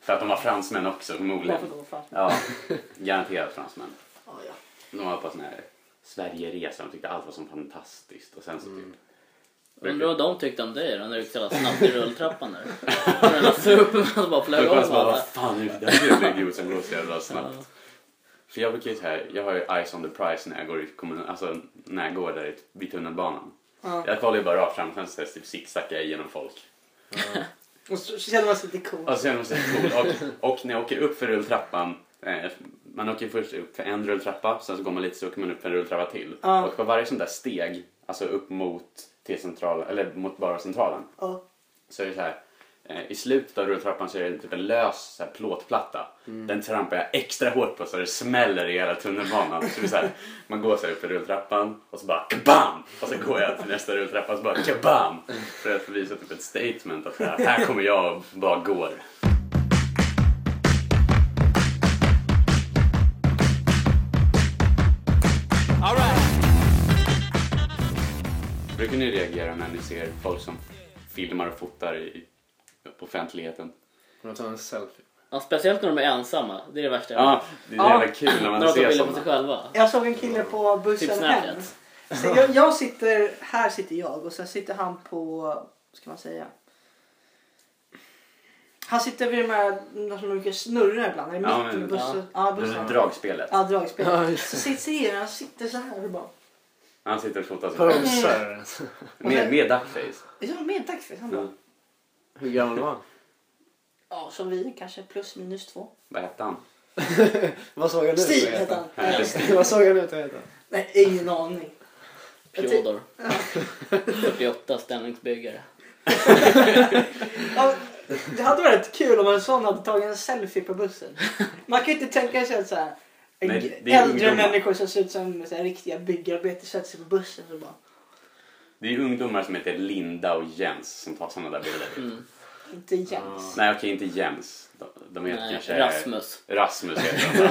S3: För att de var fransmän också förmodligen.
S2: Varför då? Fan.
S3: Ja, garanterat fransmän.
S2: Ja, ja.
S3: De var på sån här Sverigeresa och tyckte allt var så fantastiskt. Och sen så typ...
S4: Undrar vad de tyckte om dig då när du gick så jävla snabbt i rulltrappan där. När den så upp och bara flög
S3: Jag bara,
S4: av
S3: bara,
S4: alla.
S3: vad fan är det där jävla idiot som går så jävla snabbt? För jag brukar ju så här, jag har ju eyes on the prize när jag går, i kommun, alltså, när jag går där i- vid tunnelbanan.
S2: Ja.
S3: Jag kollar ju bara rakt fram, sen så typ zigzaggar jag igenom folk.
S2: Och så så känner man sig lite cool.
S3: Och sen måste Alltså, jag cool. och, och när jag åker upp för rulltrappan. Eh, man åker först upp för en rulltrappa, sen så går man lite så åker man upp för en rulltrappa till.
S2: Ja.
S3: Och på varje sån där steg, alltså upp mot T-centralen, eller mot bara centralen.
S2: Ja.
S3: Så är det så här. eh, I slutet av rulltrappan så är det typ en lös så här, plåtplatta. Den trampar jag extra hårt på så det smäller i hela tunnelbanan. Så det är så här, man går så här upp för rulltrappan och så bara kabam! Och så går jag till nästa rulltrappa och så bara kabam! För att visa typ ett statement att så här, här kommer jag och bara går. Brukar ni reagera när ni ser folk som filmar och fotar i på offentligheten?
S1: Man tar en selfie.
S4: Ja, speciellt när de är ensamma. Det är det värsta jag
S3: Ja,
S4: vet.
S3: det är så jävla
S2: Ja.
S3: kul när
S4: När
S3: man
S4: de tar
S3: ser
S4: bilder på sig
S3: sådana.
S4: själva.
S2: Jag såg en kille på bussen
S4: Typ
S2: hem.
S4: Snapchat.
S2: Så jag, jag sitter, här sitter jag och sen sitter han på, vad ska man säga? Han sitter vid de här, de som brukar snurra ibland. Eller
S3: Ja,
S2: mitt i
S3: men-
S2: bussen. Ja,
S3: Det
S2: bussen.
S3: är dragspelet.
S2: Ja, dragspel.
S1: Ja, just
S2: så sitter han sitter så här och bara.
S3: Han sitter och fotar sig.
S2: Mm.
S1: Posar.
S3: Med, med duckface.
S2: Ja, men tack för det. Han bara.
S3: Ja.
S1: Hur gammal var han?
S2: Ja, som vi kanske. Plus minus två.
S3: Vad hette han?
S1: Vad såg han ut att
S2: Stig
S1: heta?
S2: hette han.
S1: Vad såg han ut att heta?
S2: Nej, ingen aning. typ.
S4: Fjodor. 48 ställningsbyggare.
S2: Ja, det hade varit kul om en sån hade tagit en selfie på bussen. Man kan ju inte tänka sig att så här,
S3: Nej, det är
S2: äldre
S3: ungdomar.
S2: människor som ser ut som så här, riktiga byggarbetare sätter sig på bussen och bara
S3: Det är ju ungdomar som heter Linda och Jens som tar sådana där bilder.
S4: Mm.
S2: inte
S3: Ah.
S2: Jens.
S3: Nej okej, inte Jens. De, de heter
S4: Nej,
S3: kanske...
S4: Rasmus.
S3: Rasmus heter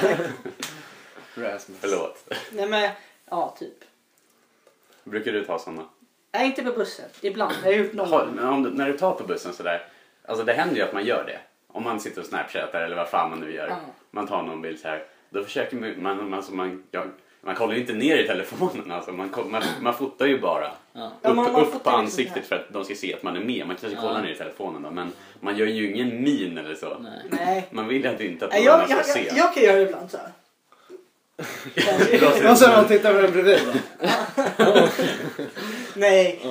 S3: de.
S1: Rasmus.
S3: Förlåt.
S2: Nej men ja, typ.
S3: Brukar du ta sådana?
S2: Nej, inte på bussen. Ibland. Jag har gjort någon.
S3: Har- men Om, du- när du tar på bussen sådär. Alltså det händer ju att man gör det. Om man sitter och snapchatar eller vad fan man nu gör.
S2: Ja.
S3: Man tar någon bild så här. Då försöker man, man, man, alltså man, ja, man kollar ju inte ner i telefonen alltså. Man, koll- man, man fotar ju bara.
S2: Ja,
S3: Upp,
S2: man- man fotar
S3: upp på
S2: liksom
S3: ansiktet för att de ska se att man är med. Man kanske kollar ner i telefonen då, men man gör ju ingen min eller så.
S4: Nej.
S2: Nej.
S3: Man vill ju inte att någon
S2: Nej, jag,
S3: annan ska
S2: jag,
S3: se.
S2: jag, jag kan göra det ibland så här.
S3: Dra sig
S1: Och så
S3: undan.
S1: man tittar på den bredvid.
S2: Nej.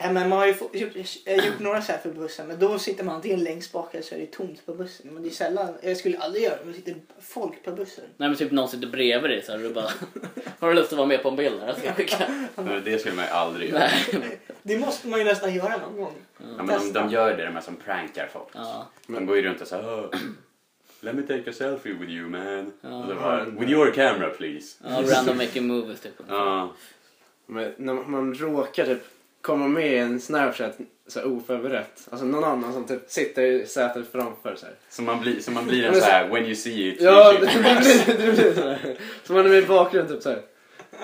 S2: Nej, men man har ju få- gjort, eh, gjort några så här för bussen men då sitter man antingen längst bak eller så är det tomt på bussen. Men det är sällan, jag skulle aldrig göra det, men det sitter folk på bussen.
S4: Nej men typ någon sitter bredvid dig så här, och du bara Har du lust att vara med på en bild här? Alltså, Jag ska skicka.
S3: Nej, Det skulle man ju aldrig göra.
S4: Nej.
S2: Det måste man ju nästan göra någon gång.
S3: Ja, men de, de gör det, de här som prankar folk.
S4: Ja.
S3: De går ju runt och så här. "Oh, Let me take a selfie with you man.
S4: Ja.
S3: Och så bara, with your camera please.
S4: ja, random making movies typ.
S3: Ja.
S1: Men när man råkar typ komma med i en Snapchat så här oförberett. Alltså någon annan som typ sitter i sätet framför så här.
S3: Så man blir, så man blir
S1: Ja,
S3: en
S1: men
S3: så här when you see it.
S1: Ja,
S3: you
S1: det
S3: see it."
S1: blir, det blir så här. Så man är med i bakgrunden typ så här.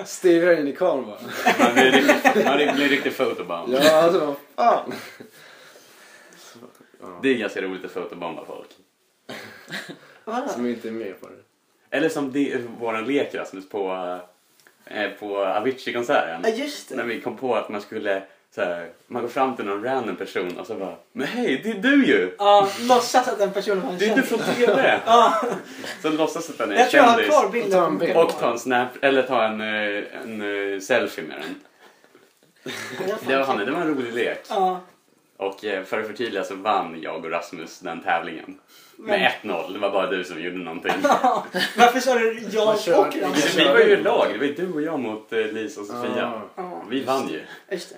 S1: Stirrar in i kameran bara.
S3: Man blir riktigt, man blir riktigt fotobomb.
S1: Ja, alltså vad fan.
S3: Det är ganska roligt att fotobomba folk.
S1: Som inte är med på det.
S3: Eller som det, våran lek Rasmus på, eh, på Avicii-konserten.
S2: Ja just det.
S3: När vi kom på att man skulle så här, man går fram till någon random person och så bara Men hej, det är du ju!
S2: Ja, låtsas att den personen var en
S3: Det är du
S2: kändis.
S3: från TV!
S2: Ja,
S3: Så låtsas att den är en
S2: jag tror jag har
S3: kändis.
S2: kvar
S1: Och ta en
S2: bilden.
S1: bild.
S3: Och ta en snap, eller ta en, eh, en eh, selfie med den. Det var, fan, det var en rolig lek.
S2: Ja,
S3: Och eh, för att förtydliga så vann jag och Rasmus den tävlingen.
S2: Men-
S3: Med 1-0, det var bara du som gjorde någonting.
S2: varför sa du jag
S1: Vad kör-
S2: och Rasmus?
S3: Vi var ju i lag, det var ju du och jag mot eh, Lisa och Sofia.
S1: Ja.
S2: Ja,
S3: Vi vann ju.
S2: just det.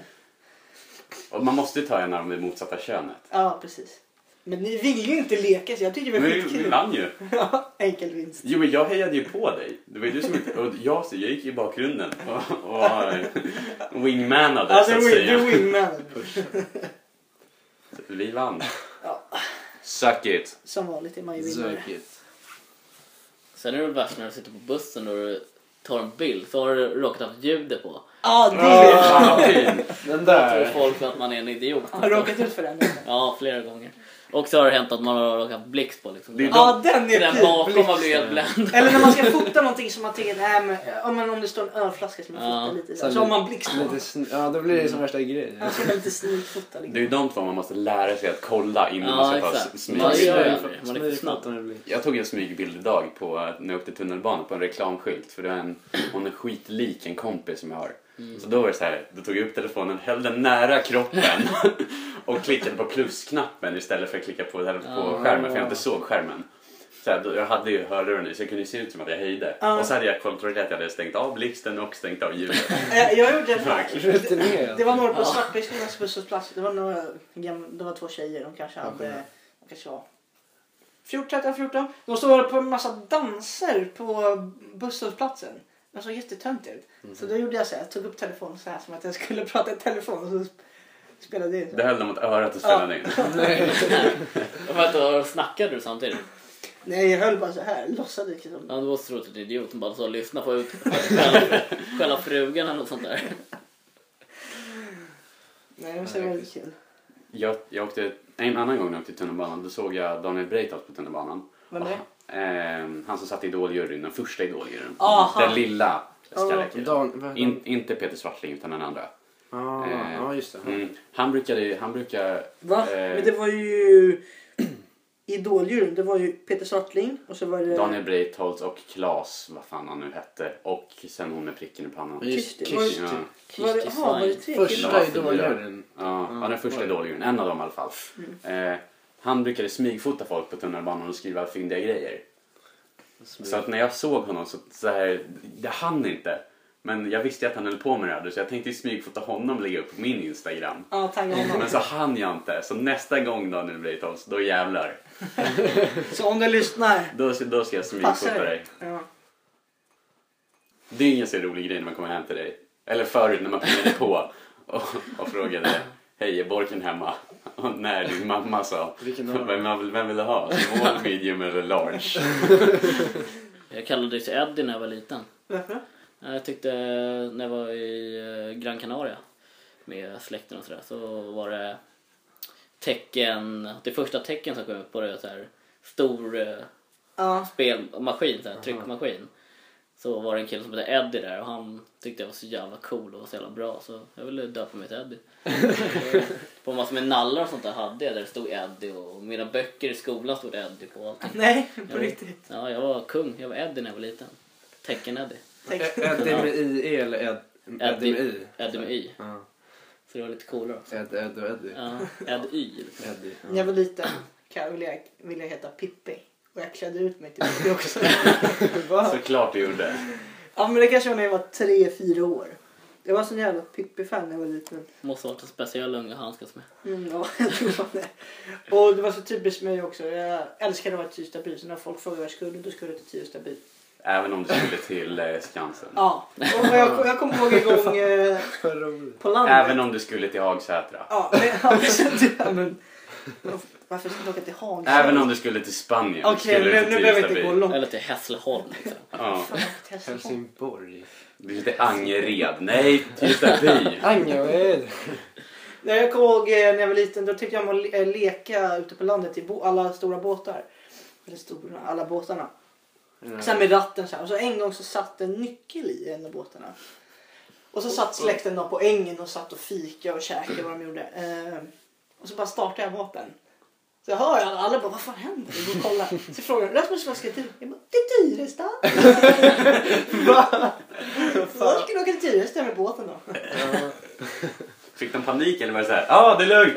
S3: Och man måste ju ta en av det motsatta könet.
S2: Ja, precis. Men ni vill ju inte leka så jag tycker det
S3: Men
S2: var
S3: vi, vi
S2: skitkul.
S3: vann ju.
S2: Ja, enkel vinst.
S3: Jo men jag hejade ju på dig. Det var ju du som inte... Och jag, jag gick i bakgrunden och, och eh, wingmanade
S2: Alltså,
S3: så att
S2: du är
S3: säga.
S2: wingman.
S3: Vi vann.
S2: Ja.
S3: Suck it.
S2: Som vanligt är man ju vinnare.
S1: Sökigt.
S4: Sen är det värst när du sitter på bussen och du tar en bild så har du råkat haft ljudet på.
S2: Ja, det
S3: Fy
S2: är...
S3: Fan vad fint.
S1: Den
S4: Då tror
S1: där.
S4: folk att man är en idiot.
S2: Har du råkat ut för den?
S4: Ja, flera gånger. Och så har det hänt att man har råkat haft blixt på liksom.
S3: Det är
S2: Ja, den är
S4: Den bakom har
S2: pinblixt.
S4: blivit helt bländ.
S2: Eller när man ska fota någonting som man tänker, nej men ja, men om det står en ölflaska som man
S4: Ja.
S2: fotar lite. Så, så har man blixt på.
S1: Lite sn- ja, då blir det som värsta grejen.
S2: Man ska lite sneakfota liksom.
S3: Det är ju de två man måste lära sig att kolla innan man
S4: Ja,
S3: ska ta
S4: exakt.
S3: s-
S4: Ja, det gör
S3: smygbilder.
S4: jag. Man är för snabb.
S3: Jag tog en smygbild idag på, eh, när jag åkte tunnelbana på en reklamskylt för det var en, hon är skitlik en kompis som jag har.
S4: Mm.
S3: Så då var det så här, då tog jag upp telefonen, höll den nära kroppen och klickade på plusknappen istället för att klicka på, på
S4: Ah.
S3: skärmen för jag inte såg skärmen. Så här, då- jag hade ju hörlurar i så jag kunde se ut som att jag höjde.
S4: Ah.
S2: Ja.
S3: Och så hade jag kontrollerat att jag hade stängt av blixten och stängt av ljudet.
S2: Eh, Jag gjorde det här. Det
S1: Rutinerad.
S2: var några på Svartbygdskolans busshållplats. Det var några gamla, det var två tjejer. De kanske hade, de kanske var 14, 13, 14. De stod på en massa danser på busshållplatsen. De såg jättetöntiga ut. Så då gjorde jag så här, jag tog upp telefonen så här som att jag skulle prata i telefon och så sp- spelade jag in. så
S3: Det
S2: här.
S3: höll de mot örat och
S4: Ah.
S3: spelade in.
S4: Vänta, då snackade du samtidigt?
S2: Nej, jag höll bara så här, låtsades liksom.
S4: Ja, du måste tro att du är idiot som bara så lyssna på ut själva frugan eller något sånt där.
S2: Nej, men så var det kul.
S3: Jag, jag åkte, en annan gång när jag åkte tunnelbanan då såg jag Daniel Breitholt på tunnelbanan.
S2: Vem är det?
S3: Och han- eh, han som satt i Idoljuryn, den första Idoljuryn.
S2: Aha.
S3: Den lilla skalliga
S2: Ah, Ja.
S3: killen.
S1: Dan, vad-
S3: In, inte Peter Swartling utan den andra.
S1: Ah,
S3: Eh,
S1: ja, just det.
S3: Mm. Han brukade ju- han brukar...
S2: Va?
S3: Eh,
S2: Men det var ju idoldjuren, det var ju Peter Svartling och så var det...
S3: Daniel Breitholtz och Klas, vad fan han nu hette. Och sen hon med pricken i pannan.
S1: Just
S2: Kirsti.
S1: Kirsti.
S3: Ja.
S2: Var det,
S4: Kiss
S2: aha, var det
S4: Design.
S2: tre killar?
S1: Första
S3: Killar.
S1: idoljuren.
S3: Ja,
S1: Ja,
S3: ja, den
S1: var
S3: första
S1: det.
S3: idoljuryn. En av dem i alla fall. Eh, han brukade smygfota folk på tunnelbanan och skriva fyndiga grejer. Så att när jag såg honom så, så här, jag hann inte. Men jag visste ju att han höll på med det här så jag tänkte ju smygfota honom och lägga upp på min Instagram.
S2: Ja, tagga honom.
S3: Men så hann jag inte. Så nästa gång Daniel Breitholtz, då jävlar.
S2: Så om du lyssnar,
S3: Då, ska- då ska jag
S2: passa
S3: smygfota dig.
S2: dig. Ja.
S3: Det är ingen så rolig grej när man kommer hem till dig. Eller förut när man plingade på och, och frågade Hej, är borken hemma? Och när din mamma sa
S1: Vilken av dem?
S3: vem, vill- vem vill du ha? Small, medium eller large?
S4: Jag kallades ju Eddie när jag var liten.
S2: Varför?
S4: Ja, Jag tyckte när jag var i eh, Gran Canaria med släkten och sådär så var det tecken, det första tecken som kom upp på det så här stor eh,
S2: Ja.
S4: spelmaskin, så här, tryckmaskin. Så var det en kille som hette Eddie där och han tyckte jag var så jävla cool och så jävla bra så jag ville döpa mig till Eddie. på massor med nallar och sånt där hade jag där det stod Eddie och mina böcker i skolan stod Eddie på allting.
S2: Nej, på
S4: Ja.
S2: riktigt.
S4: Ja, jag var kung, jag var Eddie när jag var liten. Tecken-Eddie.
S2: Tänk.
S1: Ä- Eddie med I E eller Ed- Eddie med I?
S4: Eddie med Y.
S1: Ja.
S4: Så det var lite coolare också.
S1: Ed, Ed och Eddie.
S4: Ja, Ed Y.
S1: Eddie.
S2: När jag var liten kan jag vilja, vilja heta Pippi. Och jag klädde ut mig till Pippi också. Va?
S3: Såklart du gjorde.
S2: ja men det kanske var när jag var tre, fyra år. Jag var sån jävla Pippi-fan när jag var liten.
S4: Måste ha varit en speciell unge att handskas med.
S2: Mm, ja, jag tror fan det. Och det var så typiskt mig också. Jag älskade att vara i Tystaby. Så när folk frågade vad jag skulle, då skulle jag till Tystaby.
S3: Även om du skulle till eh, Skansen.
S2: Ja, och jag, jag kommer ihåg en gång eh,
S1: Vad roligt.
S2: på landet.
S3: Även om du skulle till Hagsätra.
S2: Ja, men, ja, precis. ja, men, men varför ska jag åka till Hagen?
S3: Även om du skulle till Spanien.
S2: Okej,
S3: skulle du
S2: nu,
S3: till
S2: nu behöver jag inte
S3: Tistaby.
S2: gå långt.
S4: Eller till Hässleholm. Liksom.
S3: Ja.
S2: Fan, jag har inte hälsat på.
S1: Helsingborg.
S3: Du skulle till Angered. Nej, Tistaby.
S1: Anja, vad är det?
S2: Nej, jag kommer ihåg eh, när jag var liten, då tyckte jag om att le- eh, leka ute på landet i bo- alla stora båtar. Eller stora, alla båtarna. Sen med ratten så här. Och så en gång så satt en nyckel i en av båtarna. Och så satt släkten då på ängen och satt och fika och käkade vad de gjorde. Eh, och så bara startade jag båten. Så jag hör alla, alla bara vad fan händer? Jag går och kollar. Så frågar de Rasmus vad ska du? Jag bara till Tyresta. Va? Vad ska du åka till Tyresta med båten då?
S3: Fick de panik eller var det såhär? Ja, ah, det är lugnt.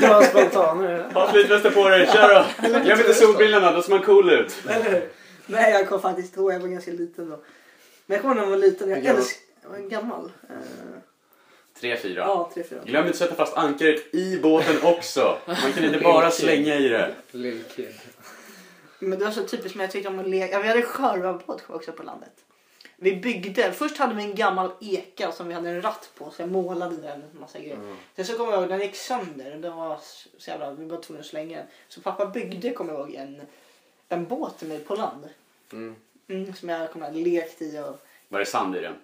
S1: Dra spontanare.
S3: Ha flytvästen på dig. Kör då. Glöm inte solbrillorna. Då ser man cool ut.
S2: Eller hur? Nej jag kommer faktiskt inte ihåg, jag var ganska liten då. Men jag kommer ihåg när jag var liten, jag
S1: Hur gammal?
S2: älskade, jag var gammal. Eh,
S3: Tre, fyra.
S2: ja, tre, fyra.
S3: Glöm inte att sätta fast ankaret i båten också. Man kan inte bara slänga i det.
S1: Lillkill.
S2: Men det var så typiskt men jag tyckte om att leka. Ja, vi hade sjörövarbåt också på landet. Vi byggde, först hade vi en gammal eka som vi hade en ratt på så jag målade den en massa grejer.
S1: Mm.
S2: Sen så kommer jag ihåg den gick sönder och den var så jävla, vi var tvungna att slänga den. Så pappa byggde kommer jag ihåg en, en båt till mig på land.
S1: Mm.
S2: Mm, som jag kommer ihåg lekt i och
S3: Var det sand i den?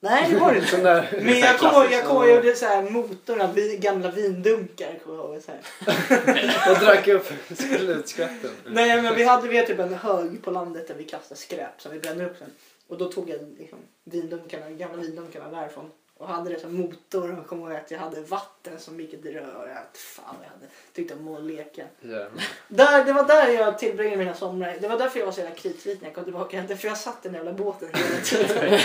S2: Nej det var det
S1: Sån
S2: inte.
S1: där.
S2: Men
S3: så här
S2: jag kommer ihåg,
S3: klassiskt.
S2: jag kommer ihåg, jag gjorde så här motorn av vi- gamla vindunkar kommer jag ihåg. Så här.
S1: Jag drack upp slutskatten.
S2: Nej men vi hade, vi hade typ en hög på landet där vi kastade skräp som vi brände upp sen. Och då tog jag liksom vindunkarna, gamla vindunkarna därifrån och hade det som motor och kom ihåg att jag hade vatten som gick i ett rör. Jag, vet fan vad jag hade tyckte om att leka.
S1: Jävlar.
S2: Där, det var där jag tillbringade mina somrar. Det var därför jag var så jävla kritvit när jag kom tillbaka. Därför jag satt i den jävla båten hela tiden.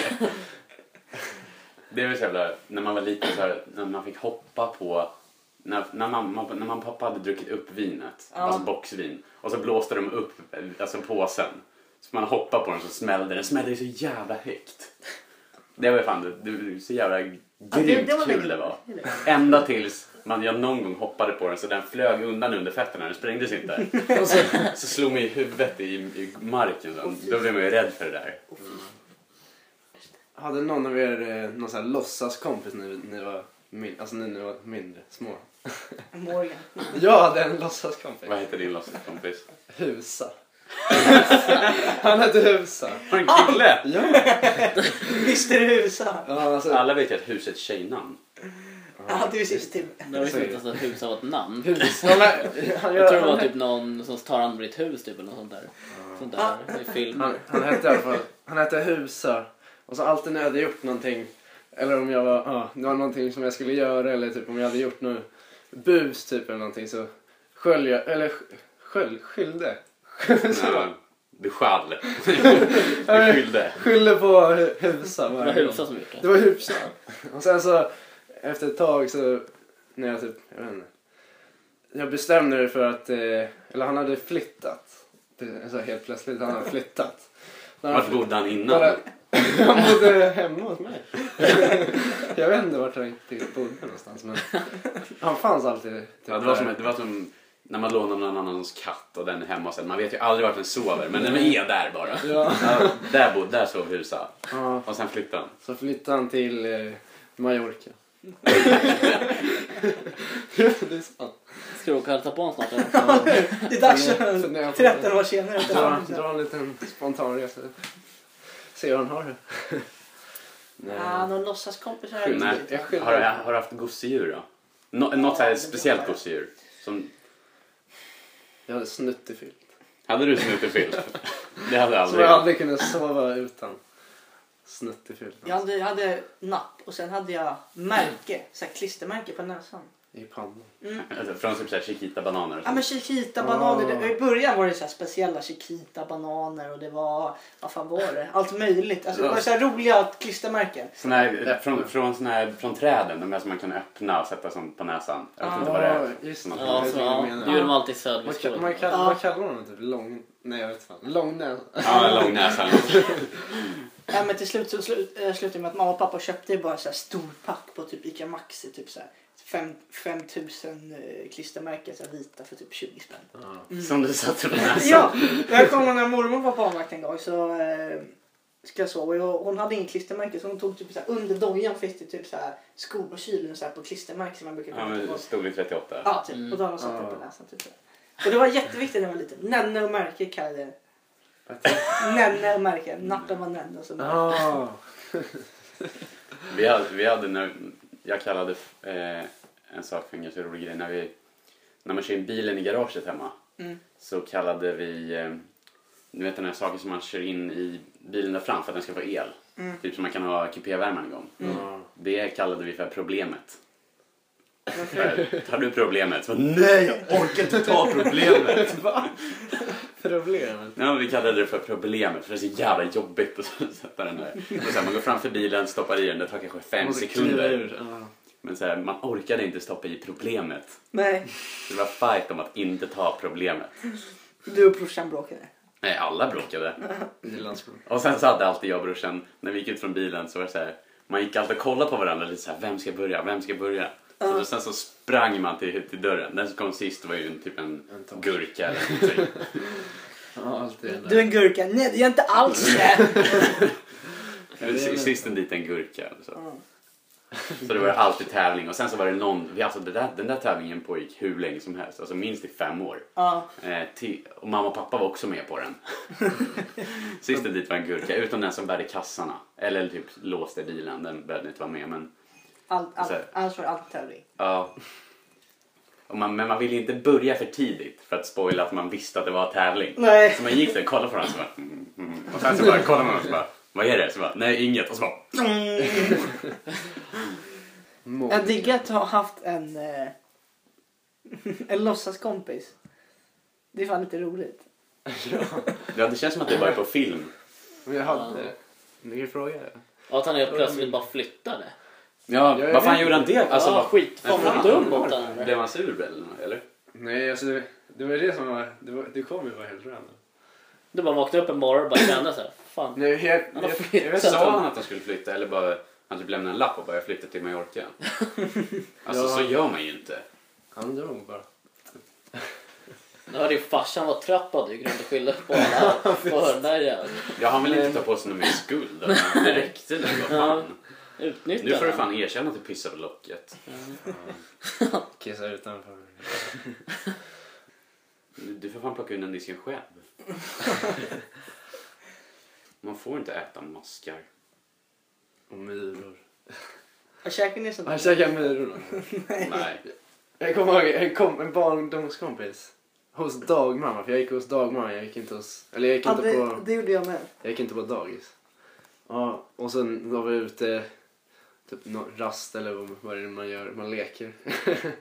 S3: Det är väl så jävla, när man var liten så här, när man fick hoppa på, när, när, mamma, när mamma och pappa hade druckit upp vinet,
S2: Ja.
S3: alltså boxvin, och så blåste de upp alltså påsen. Så man hoppade på den så smällde den, smällde ju så jävla högt. Det var ju fan, det, det var så jävla grymt kul det var. Ända tills man, jag någon gång hoppade på den så den flög undan under fötterna, den sprängdes inte. Och så, så slog mig i huvudet i, i marken, så. då blev man ju rädd för det där.
S1: Hade någon av er eh, någon sån här låtsaskompis när ni var min, alltså när ni var mindre, små?
S2: Morgan.
S1: Jag hade en låtsaskompis.
S3: Vad heter din låtsaskompis?
S1: Husa. Han hette Husa.
S3: Var det en kille?
S1: Ja.
S2: Mr Husa.
S1: Ja, alltså,
S3: Alla vet ju att huset tjejnamn.
S2: Ja, du ser till.
S4: Men jag
S1: Så
S4: visste
S1: är
S4: inte
S1: det.
S4: ens att hus var ett namn.
S1: Husa. Han, han,
S4: Jag tror det var
S1: han-
S4: typ någon som tar hand om ditt hus typ eller något sånt där. Sånt där i film.
S1: Han, han hette i alla fall, han hette Husa. Och så alltid när jag hade gjort någonting, eller om jag var, ja, det var någonting som jag skulle göra eller typ om jag hade gjort något bus typ eller någonting så skölj jag, eller sk- Sköld, skyllde.
S3: Nej, du skall.
S1: Ja,
S3: Du
S1: men-
S3: skyllde.
S1: Skyllde på hu- Husa
S4: Det var
S1: varje gång.
S4: Husa som gjort
S1: Det
S4: det.
S1: var Husa. Och sen så efter ett tag så när jag typ, jag vet inte. Jag bestämde mig för att, eh, eller han hade flyttat. Det- Så helt plötsligt, han hade flyttat. Så han-
S3: Vart bodde han innan?
S1: Bara- Han bodde hemma hos mig. jag vet inte vart han riktigt bodde någonstans men han fanns alltid. Typ,
S3: Ja, det, var som,
S1: där.
S3: det var som när man lånar någon annans katt och den är hemma sen. Man vet ju aldrig vart den sover men den är där bara.
S1: Ja.
S3: Ja, där bodde, där sov Husa.
S1: ja,
S3: Och sen flyttade han.
S1: så flyttade han till eh, Mallorca. det är sant.
S4: Ska du åka och hälsa på honom snart? eller?
S2: Det är dags
S1: Men, så när jag-
S2: 13 år senare.
S1: Dra, dra en liten spontan resa. Se hur han har det.
S3: Nej.
S2: Ja, någon låtsaskompisar.
S3: Nej.
S2: här ute.
S1: Jag skyller.
S3: Har, du- har du haft gosedjur då? Nå, något så här speciellt gosedjur? Som,
S1: Jag hade snuttefyllt.
S3: hade du snuttefilt? Det hade jag
S1: Som jag
S3: aldrig.
S1: aldrig kunde sova utan. Snuttefyllt.
S2: Jag hade, jag hade napp och sen hade jag märke, så här klistermärke på näsan.
S1: I pannan.
S3: Alltså, Från typ så här Chiquita-bananer och
S2: Ja
S3: sånt.
S2: men Chiquita-bananer.
S1: Ah.
S2: det- I början var det så här speciella Chiquita-bananer och det var, vad fan var det? Allt möjligt. Alltså det var så här roliga klistermärken.
S3: Såna här, eh, från, från, såna här, från träden, de där som man kan öppna och sätta som på näsan. Jag vet inte vad det är.
S1: just
S3: Ja,
S1: det.
S4: Ja, så, ja, det gjorde de alltid i
S1: Man, kan, man
S4: Söderbyskolan.
S1: kan,
S2: Ja.
S1: Vad kallar man det? Typ? Lång... Nej, jag vet fan. Långnäs.
S3: Ja, lång näsa.
S2: Ja, men till slut så slut, eh, slutade det med att mamma och pappa köpte bara så här stor pack på typ Ica Maxi. Typ så här. 5000 klistermärken, så här vita för typ 20 spänn.
S3: Som du satte på näsan.
S2: Ja, jag kommer när mormor var barnvakt en gång så eh, ska jag sova. Och jag, hon hade ingen klistermärke så hon tog typ så här, under dojan finns det typ så här skor och kylen så här på klistermärken som man brukar
S3: Ja,
S2: kunna ta
S3: men
S2: bort.
S3: storlek 38.
S2: Ja, typ. Och då har hon satt det på näsan typ så här. Och det var jätteviktigt när jag var liten. Nenne och märke kallade jag det. Nenne och märke. Nappen var nenne och så märke.
S1: Ah.
S3: Vi hade, vi hade när, jag kallade eh, en sak för en ganska rolig grej. När, vi, när man kör in bilen i garaget hemma
S2: Mm.
S3: så kallade vi, eh, du vet den här saken som man kör in i bilen där fram för att den ska få el.
S2: Mm.
S3: Typ som man kan ha kupévärmaren igång.
S1: Ja.
S3: Det kallade vi för problemet. Tar du problemet? Så, Nej, jag orkar inte ta problemet.
S1: Problemet.
S3: Nej, men vi kallade det för problemet för det är så jävla jobbigt att sätta den där. Och sen, man går framför bilen, stoppar i den, det tar kanske fem
S1: Måste kliva
S3: sekunder.
S1: ur, ja.
S3: Men så här, man orkade inte stoppa i problemet.
S2: Nej,
S3: Det var fight om att inte ta problemet.
S2: du och brorsan bråkade.
S3: Nej, alla bråkade.
S1: Irlandsbron.
S3: Och sen så hade alltid jag och brorsan, när vi gick ut från bilen så var det så här, man gick alltid och kollade på varandra lite så här, vem ska börja, vem ska börja? Så då, sen så sprang man till, till dörren. Den som kom sist var ju en, typ en,
S1: En torsk.
S3: gurka eller någonting.
S1: Ja, alltid det där.
S2: Du är en gurka. Nej, det är jag inte alls det.
S3: Eller
S1: det är
S3: sist en dit en gurka. eller Så.
S2: Mm.
S3: så det var alltid tävling och sen så var det någon, vi, alltså det där, den där tävlingen pågick hur länge som helst, alltså minst i fem år.
S2: Ja.
S3: Eh, till, och mamma och pappa var också med på den. Sisten dit var en gurka, utom den som bärde kassarna. Eller typ låste bilen, den behövde inte vara med. Men,
S2: Allt, allt,
S3: Så här.
S2: annars var det alltid tävling.
S3: ja. och man, men man ville inte börja för tidigt för att spoila att man visste att det var tävling.
S2: Nej.
S3: Så man gick där och kollade på den så bara, mm, mm. Och sen så bara kollade man och så bara, vad är det? Så bara, nej inget. Och så bara,
S2: Mm.
S1: Mål.
S2: Jag diggar att ha haft en, eh, en låtsaskompis. Det är fan lite roligt.
S3: ja, det känns som att det var på film.
S1: Men jag hade... Du kan fråga det.
S4: Och att han helt plötsligt bara flyttade.
S3: Ja,
S1: jag
S3: vad fan
S1: vet
S3: gjorde han det? Alltså,
S4: Alltså, ja,
S3: vad-
S4: skit. Fan
S3: Men
S4: vad
S3: fan,
S4: dum mot den här.
S3: Blev han sur eller? eller?
S1: Nej, alltså det- det var det som var... Det, var, det kom ju bara helt random.
S4: Du bara vaknade upp en morgon och bara kände såhär. Fan.
S1: Nej, jag, jag, jag, jag vet
S3: Sa
S1: inte.
S3: han att han skulle flytta eller bara han typ lämnade en lapp och bara jag flyttar till Mallorca? Alltså
S1: Ja.
S3: så gör man ju inte.
S1: Han dog bara.
S4: Nu hade ju farsan varit trött och hade ju grund att skylla på alla. På den där jäveln.
S3: Ja, han vill inte ta på sig någon mer skuld. alltså, Det räckte nu, vad fan.
S4: Utnyttja
S3: Nu får du
S4: den.
S3: fan erkänna att du pissar på locket.
S1: Kissade utanför.
S3: Du får fan plocka undan disken själv. Man får inte äta maskar.
S1: Och myror.
S2: Vad käkar ni sånt?
S1: Han käkade myror.
S3: Nej.
S1: Jag kommer ihåg en, kom, en barndomskompis. Hos dagmamma, för jag gick hos dagmamma. Jag gick inte hos... Eller jag gick
S2: Ja,
S1: inte på...
S2: det, det gjorde jag med.
S1: Jag gick inte på dagis. Ja, och sen var vi ute, typ nå- rast eller vad- vad är det man gör, man leker.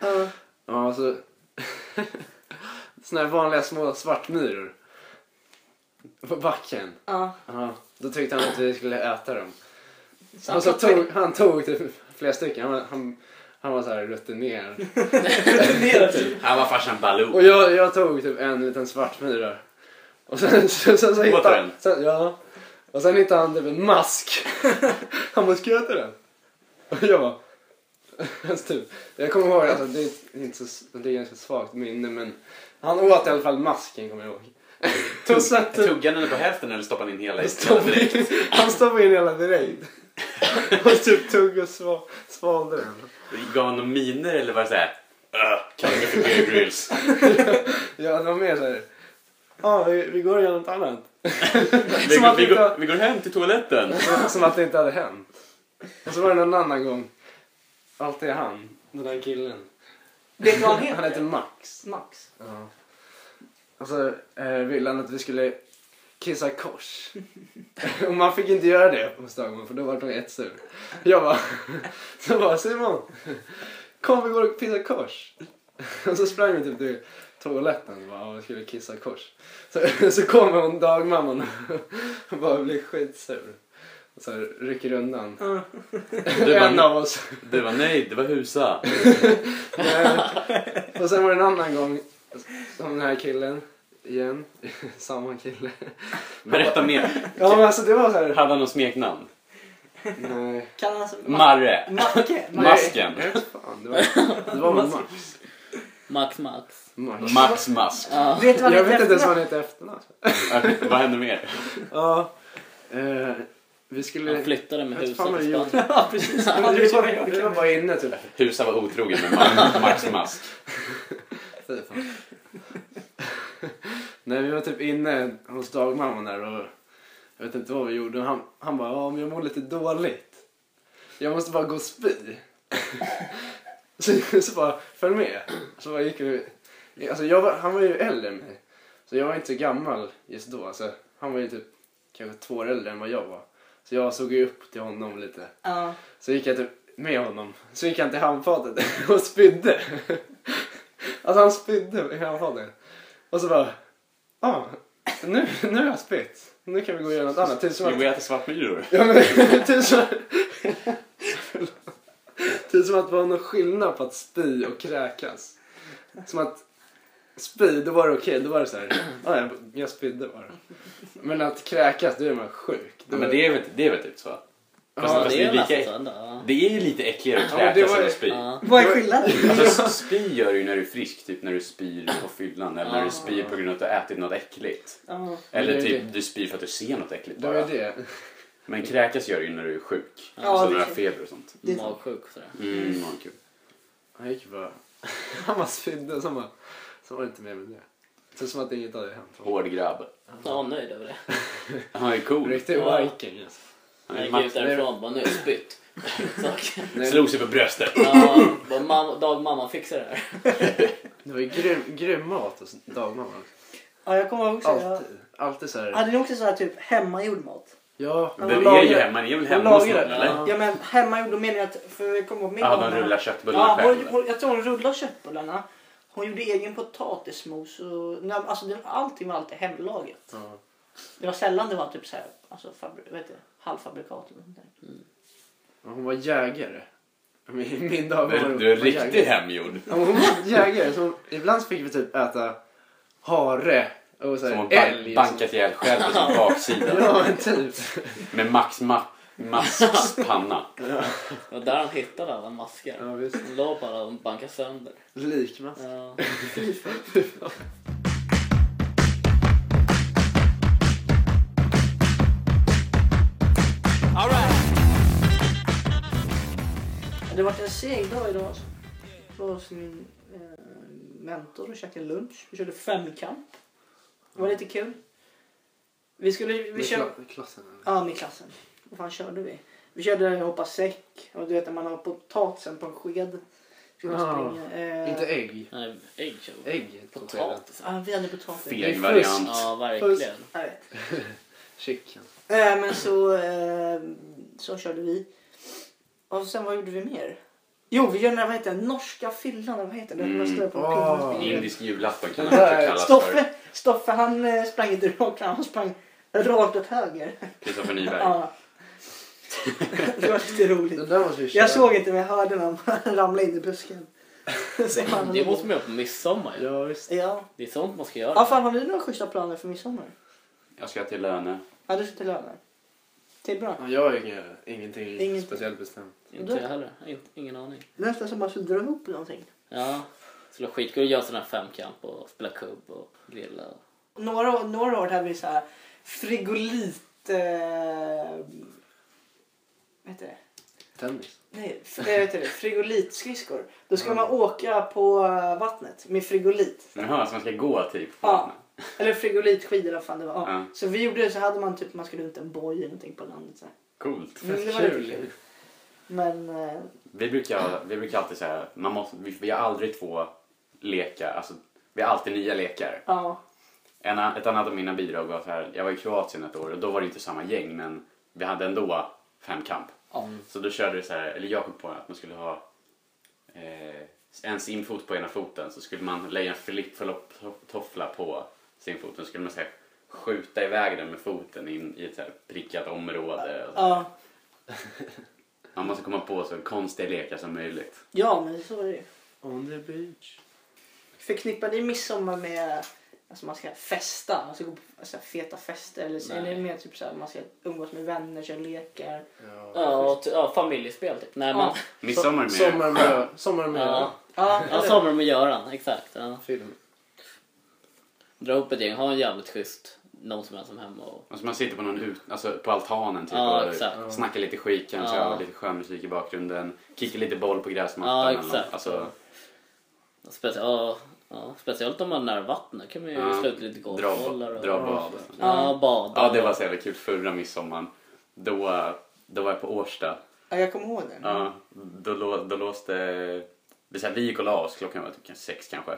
S2: Ja.
S1: Ja, så Såna här vanliga små svartmyror. På backen.
S2: Ja.
S1: Ja, då tyckte han att vi skulle äta dem.
S2: Så
S1: Han, så
S3: Alltså,
S2: plockade
S1: tog, han tog typ flera stycken. Han, var- han, han var så här rutinerad.
S2: ner det.
S3: Han var farsan Baloo.
S1: Och jag, jag tog typ en liten svartmyra. Och sen, sen, sen, sen
S3: Åt du
S1: hittade han...
S3: den?
S1: Sen, ja. Och sen hittade han typ en mask. Han bara, ska jag äta den? Och jag bara... Alltså, typ. Jag kommer ihåg, alltså, det, är inte så, det är ganska svagt minne men han åt i alla fall masken kommer jag ihåg. Och sen typ,
S3: Tuggade han den på hälften eller stoppade han in hela?
S1: han,
S3: hela
S1: stoppade
S3: direkt?
S1: in, han stoppade in hela direkt. Och typ tog och sva, svalde den.
S3: Gav han några miner eller var det "Äh, såhär? Kallar mig för Bear Grylls.
S1: Ja, det var mer såhär... Ja, vi, vi går och gör något annat.
S3: Vi,
S1: Som
S3: går-
S1: att
S3: vi,
S1: vi
S3: går,
S1: inte-
S3: vi går hem till toaletten.
S1: Som att det inte hade hänt. Och så var det någon annan gång. Allt är han, den där killen.
S2: Vet du vad han heter?
S1: Han heter Max.
S2: Max.
S1: Ja. Och så eh, ville han att vi skulle kissa kors. Och man fick inte göra det hos Dagmar för då var han jättesur. Jag bara, så bara Simon, kom vi går och pissar kors. Och så sprang vi typ till toaletten och bara, "Ja, vi skulle kissa kors. Så, så kommer hon, dagmamman, och bara blir skitsur. Och så här rycker undan.
S2: Ja.
S3: Du
S1: en
S3: var,
S1: av oss.
S3: du var nöjd, det var husa.
S1: Och sen var det en annan gång som den här killen, igen, samma kille.
S3: Berätta mer.
S1: Ja men alltså det var så här.
S3: Hade han något smeknamn?
S1: Nej.
S2: Kan han alltså...
S3: Marre.
S2: Macke?
S1: Nej.
S3: Masken.
S1: Jag vet fan, det var, det var väl Max.
S4: Max Max.
S1: Max.
S3: Max Mask.
S4: Ja.
S2: Vet du vad
S1: Jag
S2: han
S1: vet
S2: heter
S1: inte ens vad
S2: efternamn?
S1: han heter i efternamn.
S3: Okej, Vad hände mer?
S1: Ja. Eh, vi skulle...
S4: Han flyttade med
S1: Jag vet
S4: huset
S1: fan vad
S4: till
S1: jag
S4: Spanien.
S2: Ja, precis.
S1: Vi
S2: Han hade ju som jag
S1: var, vi var
S2: gjorde.
S1: bara inne typ.
S3: Husa var otrogen med Ma- Max Mask.
S1: Fy fan. Nej vi var typ inne hos dagmamman där och jag vet inte vad vi gjorde. Och Han, han bara, ja men jag mår lite dåligt. Jag måste bara gå och spy. så, så bara, följ med. Så bara gick vi. Alltså jag var, han var ju äldre än mig. Så jag var inte så gammal just då. Alltså, han var ju typ kanske två år äldre än vad jag var. Så jag såg ju upp till honom lite.
S2: Ja.
S1: Så gick jag typ med honom. Så gick han till handfatet och spydde. Alltså han spydde i handfatet. Och så bara, ja, ah, nu, nu har jag spytt. Nu kan vi gå och göra något annat. Typ som
S3: Vi
S1: att,
S3: går äta svartmyror.
S1: ja, men, typ som, typ som att det var någon skillnad på att spy och kräkas. Som att spy, då var det okej. Då var det så här, ah, jag, jag spydde bara. Men att kräkas, då är man sjuk.
S3: Ja, men det är väl, det är väl typ så? Fast,
S4: Ja,
S3: fast
S4: det är
S3: lika,
S4: nästan så. ändå,
S3: det är ju lite äckligare att
S1: Ja, men det
S3: kräkas
S1: var
S3: än
S1: ju-
S3: att spy.
S4: Ja.
S2: Vad är skillnaden?
S3: Alltså spy gör du ju när du är frisk, typ när du spyr på fyllan eller när du spyr på grund av att du har ätit något äckligt.
S2: Ja.
S3: Eller
S1: Det är
S3: typ
S1: det.
S3: du spyr för att du ser något äckligt
S1: Det var ju
S3: bara.
S1: det.
S3: Men kräkas gör du ju när du är sjuk.
S2: Ja,
S3: alltså
S2: det
S3: när du
S2: är
S3: har feber och sånt.
S2: Det är så.
S4: Magsjuk och sådär.
S3: Mm, vad kul.
S1: Han gick bara... Han bara spydde och sen bara... Så var det inte mer med det. Så som att inget hade hänt.
S3: Hård grabb.
S4: Ja, han var nöjd över det.
S3: Han är cool.
S1: Riktig
S4: Ja.
S1: viking alltså.
S3: Han
S4: Han
S3: är
S4: gick
S3: Max.
S4: ut därifrån och bara nu har jag spytt. Saker.
S1: Nej,
S3: Slog sig på bröstet.
S4: Ja, bara, mamma, dag, mamma fixar det här.
S1: det var ju grym, grym mat hos dagmamman.
S2: Ja, jag kommer ihåg också. Jag
S1: Alltid. Alltid så här...
S2: hade ni också så här typ hemmagjord mat?
S1: Ja.
S2: Ja,
S3: Det
S2: man
S3: är ju
S1: lagar-
S3: hemma, ni är väl
S1: man
S3: hemma hos någon
S1: lagar det.
S3: eller?
S1: Ja.
S2: Ja men hemmagjord, då menar jag att, för jag kommer ihåg min
S3: Ja, de
S2: mamma-
S3: rullar köttbullarna
S2: ja, hon,
S3: själv.
S2: hon, Jag tror hon rullar köttbullarna. Hon gjorde egen potatismos och nej, alltså, det, allting var alltid hemlagat.
S1: Ja.
S2: Det var sällan det var typ så här, alltså, fabri, vet du, halvfabrikat eller någonting.
S1: Men Hon var jägare. Min, min dag var
S3: Du, du är
S1: var
S3: riktigt
S1: jägare.
S3: hemgjord.
S1: Ja, Hon var jägare. Så hon, ibland så fick vi typ äta hare och så
S3: Som
S1: här,
S3: har ban-
S1: älg. och så-
S3: bankat ihjäl själv på sin baksida.
S1: Eh, Ja, men typ.
S3: Med Max Ma- Masks panna.
S4: Det var där han hittade alla maskar.
S1: Ja, visst.
S4: Han la på alla och bankade sönder.
S1: Likmask.
S4: Ja.
S2: Ja, Det har varit en seg dag idag alltså. Jag var hos min eh, mentor och käkade lunch. Vi körde femkamp. Det var lite kul. Vi skulle, vi
S1: Med
S2: kör,
S1: kla- klassen. eller?
S2: ja med klassen. Vad fan körde vi? Vi körde hoppa säck och du vet när man har potatisen på en sked. Skulle
S1: Ja.
S2: springa. Eh,
S1: Inte ägg.
S4: Nej, Ägg tog
S1: Ägg. på skeden.
S4: Potatis.
S2: Ja, vi hade potatis.
S1: Det är
S3: Feg
S1: fusk.
S3: variant.
S4: Ja, verkligen.
S2: Jag vet.
S1: Chicken.
S2: Eh, men så, eh, så körde vi. Och sen vad gjorde vi mer? Jo, vi gör den här, vad heter den, norska fyllan, eller vad heter den?
S3: Mm.
S2: Den står på
S1: Ah.
S2: pingisbänken.
S3: Indisk julafton kan
S1: Den
S3: den också
S1: där-
S3: kallas för.
S2: Stoffe, Stoffe han eh, sprang inte rakt fram, han sprang rakt åt höger.
S3: Kristoffer Nyberg.
S2: Ja. det var lite
S1: Det
S2: roligt.
S1: där måste vi köra.
S2: Jag såg inte men jag hörde när han ramlade in i busken. Så han-
S4: Det måste man göra på midsommar ju.
S1: Ja, visst.
S2: Ja.
S4: Det är sånt man ska
S2: ja,
S4: göra.
S2: fan har du några schyssta planer för midsommar?
S3: Jag ska till Löne.
S2: Ja, du ska till Lönen. Det är bra.
S1: Ja, jag har inga, ingenting
S2: Ingenting.
S1: speciellt bestämt.
S4: Inte jag heller. Inte, ingen aning.
S2: Nästan som man skulle dra ihop någonting.
S4: Ja. Skulle vara skitkul att göra sån här femkamp och spela kubb och grilla.
S2: Några, några år hade vi så här frigolit... Eh, vad heter det?
S1: Tennis.
S2: Nej, f- eh, vad heter det? Frigolitskridskor. Då ska man åka på eh, vattnet med frigolit.
S3: Jaha, så man ska gå typ. på
S2: Ja.
S3: vattnet.
S2: Eller frigolitskidor eller vad fan det var. Ja.
S3: Ja.
S2: Så vi gjorde det så hade man typ man skulle runt en boj eller någonting på landet. Så här.
S3: Coolt.
S2: Mm, det var
S1: Kul.
S2: lite kul. Men eh,
S3: Vi brukar, vi brukar alltid säga att man måste, vi, vi har aldrig två lekar. Alltså, vi har alltid nya lekar.
S2: ja.
S3: En, a- ett annat av mina bidrag var så här, jag var i Kroatien ett år och då var det inte samma gäng men vi hade ändå femkamp. Så då körde vi så här, eller jag kom på att man skulle ha eh, en simfot på ena foten så skulle man lägga en flipptoffla på simfoten så skulle man så här, skjuta iväg den med foten in i ett så här, prickat område. Och så.
S2: ja.
S3: Man måste komma på så konstiga lekar som möjligt.
S2: Ja, men så är det ju.
S1: On the beach.
S2: Förknippar ni midsommar med alltså man ska festa, man ska gå på så här, feta fester eller så är
S4: Nej.
S2: det mer typ så här, man ska umgås med vänner, köra lekar?
S1: Ja.
S4: Ja, och, t- ja familjespel typ. Nej, men,
S2: Ja.
S3: Midsommar med
S1: Sommar med, sommar med
S4: ja.
S2: Ja,
S4: ja,
S2: eller-
S4: sommar med Göran. Exakt. Ja.
S1: film.
S4: Dra ihop ett gäng, ha en jävligt schysst någon som är ensam hemma och...
S3: Alltså man sitter på, någon ut, alltså på altanen typ,
S4: Ja,
S3: och
S4: exakt.
S3: snackar lite skit kanske,
S4: Ja.
S3: har lite skön musik i bakgrunden, kickar lite boll på gräsmattan.
S4: Ja,
S3: eller något.
S4: exakt.
S3: Alltså,
S4: Specie- ja, ja, speciellt om man är nära vattnet kan man ju
S3: Ja.
S4: slå ut lite
S3: dra,
S4: golfbollar och...
S3: dra bad.
S4: Ja, bada.
S3: Ja, det var så jävla kul förra midsommaren. Då, då var jag på Årsta.
S2: Ja, jag kommer ihåg den.
S3: Ja, då, lå- då låste... Det är så här, vi gick och la oss, klockan var typ kanske sex kanske.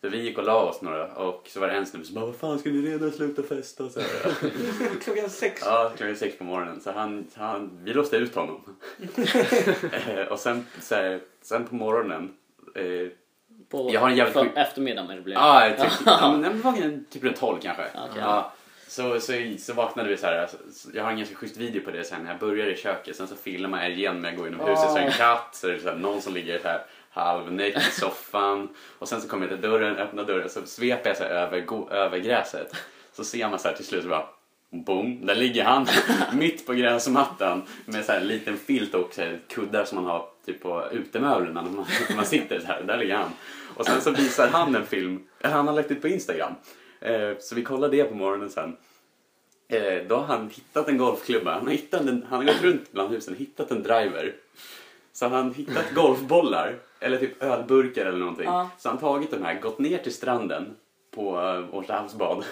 S3: Så vi gick och la oss några och så var det en snubbe som bara Vad fan ska ni redan sluta festa? Så här,
S2: Klockan sex.
S3: Ja, klockan sex på morgonen. Så han, han, vi låste ut honom. Eh, och sen, så här, sen på morgonen... Eh,
S4: På
S3: Jag har en jävligt
S4: för-
S3: sjuk-
S4: eftermiddag men det blev.
S3: ah, typ, ja, men det var en- typ runt tolv kanske.
S4: Okej.
S3: Ja. Så, så, så vaknade vi så här. alltså, så- Jag har en ganska schysst video på det sen när jag börjar i köket. Sen så filmar jag igen när jag går inom huset. Så är det en katt, så är det så här, någon som ligger så här halvnäck i soffan. Och sen så kommer jag till dörren, öppnar dörren, så sveper jag så här över, gå, över gräset. Så ser man så här till slut så bara Boom, där ligger han mitt på gräsmattan med så här en liten filt och så här kuddar som man har typ på utemöblerna när man, när man sitter så här. Där ligger han. Och sen så visar han en film, eller han har lagt ut på Instagram. Eh, så vi kollar det på morgonen sen. Eh, då har han hittat en golfklubba. Han har, hittat en, han har gått runt bland husen och hittat en driver. Så han har hittat golfbollar, eller typ ölburkar eller någonting.
S2: Ja.
S3: Så han har tagit de här, gått ner till stranden på eh, Årstahavsbad.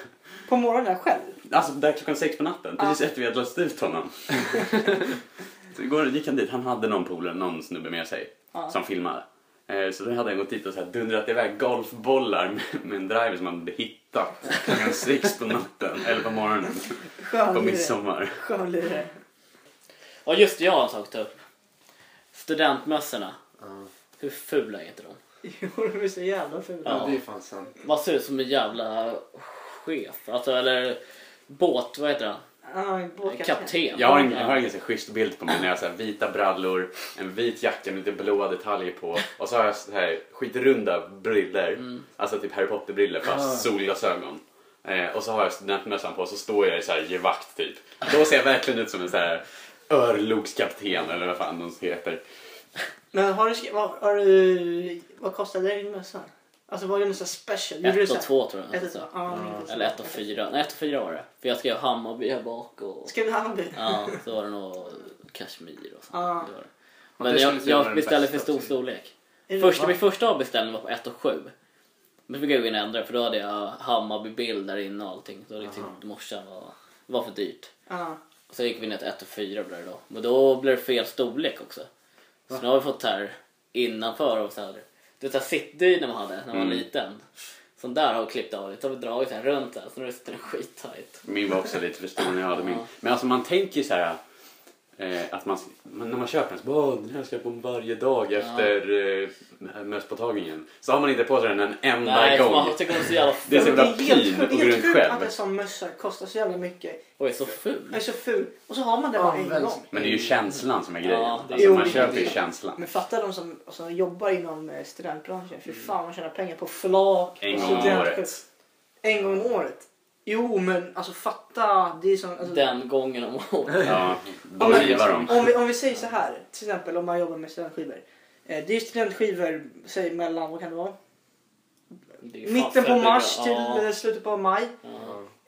S2: På morgonen själv.
S3: Alltså där klockan sex på natten, precis efter vi hade låst ut honom. så igår gick han dit, han hade någon polare, någon snubbe med sig
S2: Ja.
S3: som filmade. Eh, Så då hade han gått dit och så här dundrat iväg golfbollar med, med en driver som han hade hittat klockan sex på natten, eller på morgonen, på
S2: Skönlirare.
S3: midsommar.
S2: Skönlirare.
S4: Ja just det, jag har en sak att ta upp. Studentmössorna.
S1: Ja.
S4: Hur fula är inte de?
S2: Jo, de är så jävla fula.
S4: Ja.
S1: Det är fan sant.
S4: Man ser ut som en jävla chef. Alltså eller båt, vad heter han?
S2: Ja, båtkapten.
S4: Kapten.
S3: Jag har en, jag har en ganska schysst bild på mig när jag har så här vita brallor, en vit jacka med lite blåa detaljer på och så har jag så här skitrunda briller, alltså typ Harry Potter briller fast
S1: Ah.
S3: solglasögon. Eh, och så har jag studentmössan på och så står jag i så här gevakt typ. Då ser jag verkligen ut som en så här örlogskapten eller vad fan de heter.
S2: Men har du, skri- vad, har du... Vad kostade din mössa? Alltså var det någon sån här special? Gjorde du
S4: Ett
S2: så
S4: och
S2: här-
S4: två tror jag.
S2: Ett och två. Ja, men inte så.
S4: Eller ett och fyra. Nej ett och fyra var det. För jag skrev Hammarby här bak och...
S2: Skrev du Hammarby?
S4: Ja, så var det nog Kashmir och sånt.
S2: Ja.
S4: Det var
S1: det
S4: det. Men
S1: skulle
S4: jag,
S1: inte vara
S4: jag
S1: den
S4: beställde för
S1: bästa,
S4: stor
S1: tycker jag.
S4: storlek.
S2: Är det-
S4: Första,
S2: va?
S4: min första avbeställning var på 1 och 7. Men fick jag gå in och ändra för då hade jag Hammarby-bild där inne och allting. Då tyckte morsan var, var för dyrt.
S2: Ja.
S4: Och sen gick vi ner till 1 och 4 blev det då. Men då blev det fel storlek också. Så nu har vi fått här innanför och så här. Du vet så här sittdyna man hade när man var
S2: Mm.
S4: liten. Sån där har vi klippt av lite. Så har vi dragit den runt här så nu sitter den skittajt.
S3: Min var också lite för stor när jag hade min. Men alltså man tänker ju så här. Eh, att man, men när man köper den så bara, "Åh, den här ska jag på mig varje dag efter eh, mösspåtagningen. Så har man inte på sig den en enda
S2: Mm,
S4: Nej,
S3: gång.
S4: man tycker hon är så jävla
S3: Det är så
S4: ful.
S2: Men det
S3: jävla
S2: är helt,
S3: pin
S2: sjukt-
S3: och
S2: det är
S3: går
S2: helt
S3: runt
S2: sjukt att
S3: själv.
S2: en sån mössa kostar så jävla mycket.
S4: Och är så
S2: Den
S4: ful.
S2: är så ful. Och så har man den bara
S1: Ja,
S2: en
S1: väldigt-
S2: gång.
S3: Men det är ju känslan som är grejen.
S4: Ja, det är-
S3: alltså,
S2: Jo,
S3: man
S2: det är
S3: köper ju
S2: det.
S3: känslan.
S2: Men fatta de som, som jobbar inom eh, studentbranschen. Fy fan man tjänar pengar på flak.
S3: Mm. En
S2: och
S3: gång om
S2: studentkurs.
S3: året.
S2: En gång om året. Jo men alltså fatta. Det är som, alltså,
S4: Den gången om året.
S3: Ja,
S2: om,
S3: då rivar de.
S2: man, om, vi, om vi säger så här. Till exempel om man jobbar med studentskivor. Eh, det är studentskivor säg mellan, vad kan det vara?
S4: Det är fan
S2: Mitten på
S4: februari.
S2: mars till
S4: Ja,
S2: eh, slutet på maj.
S4: ja.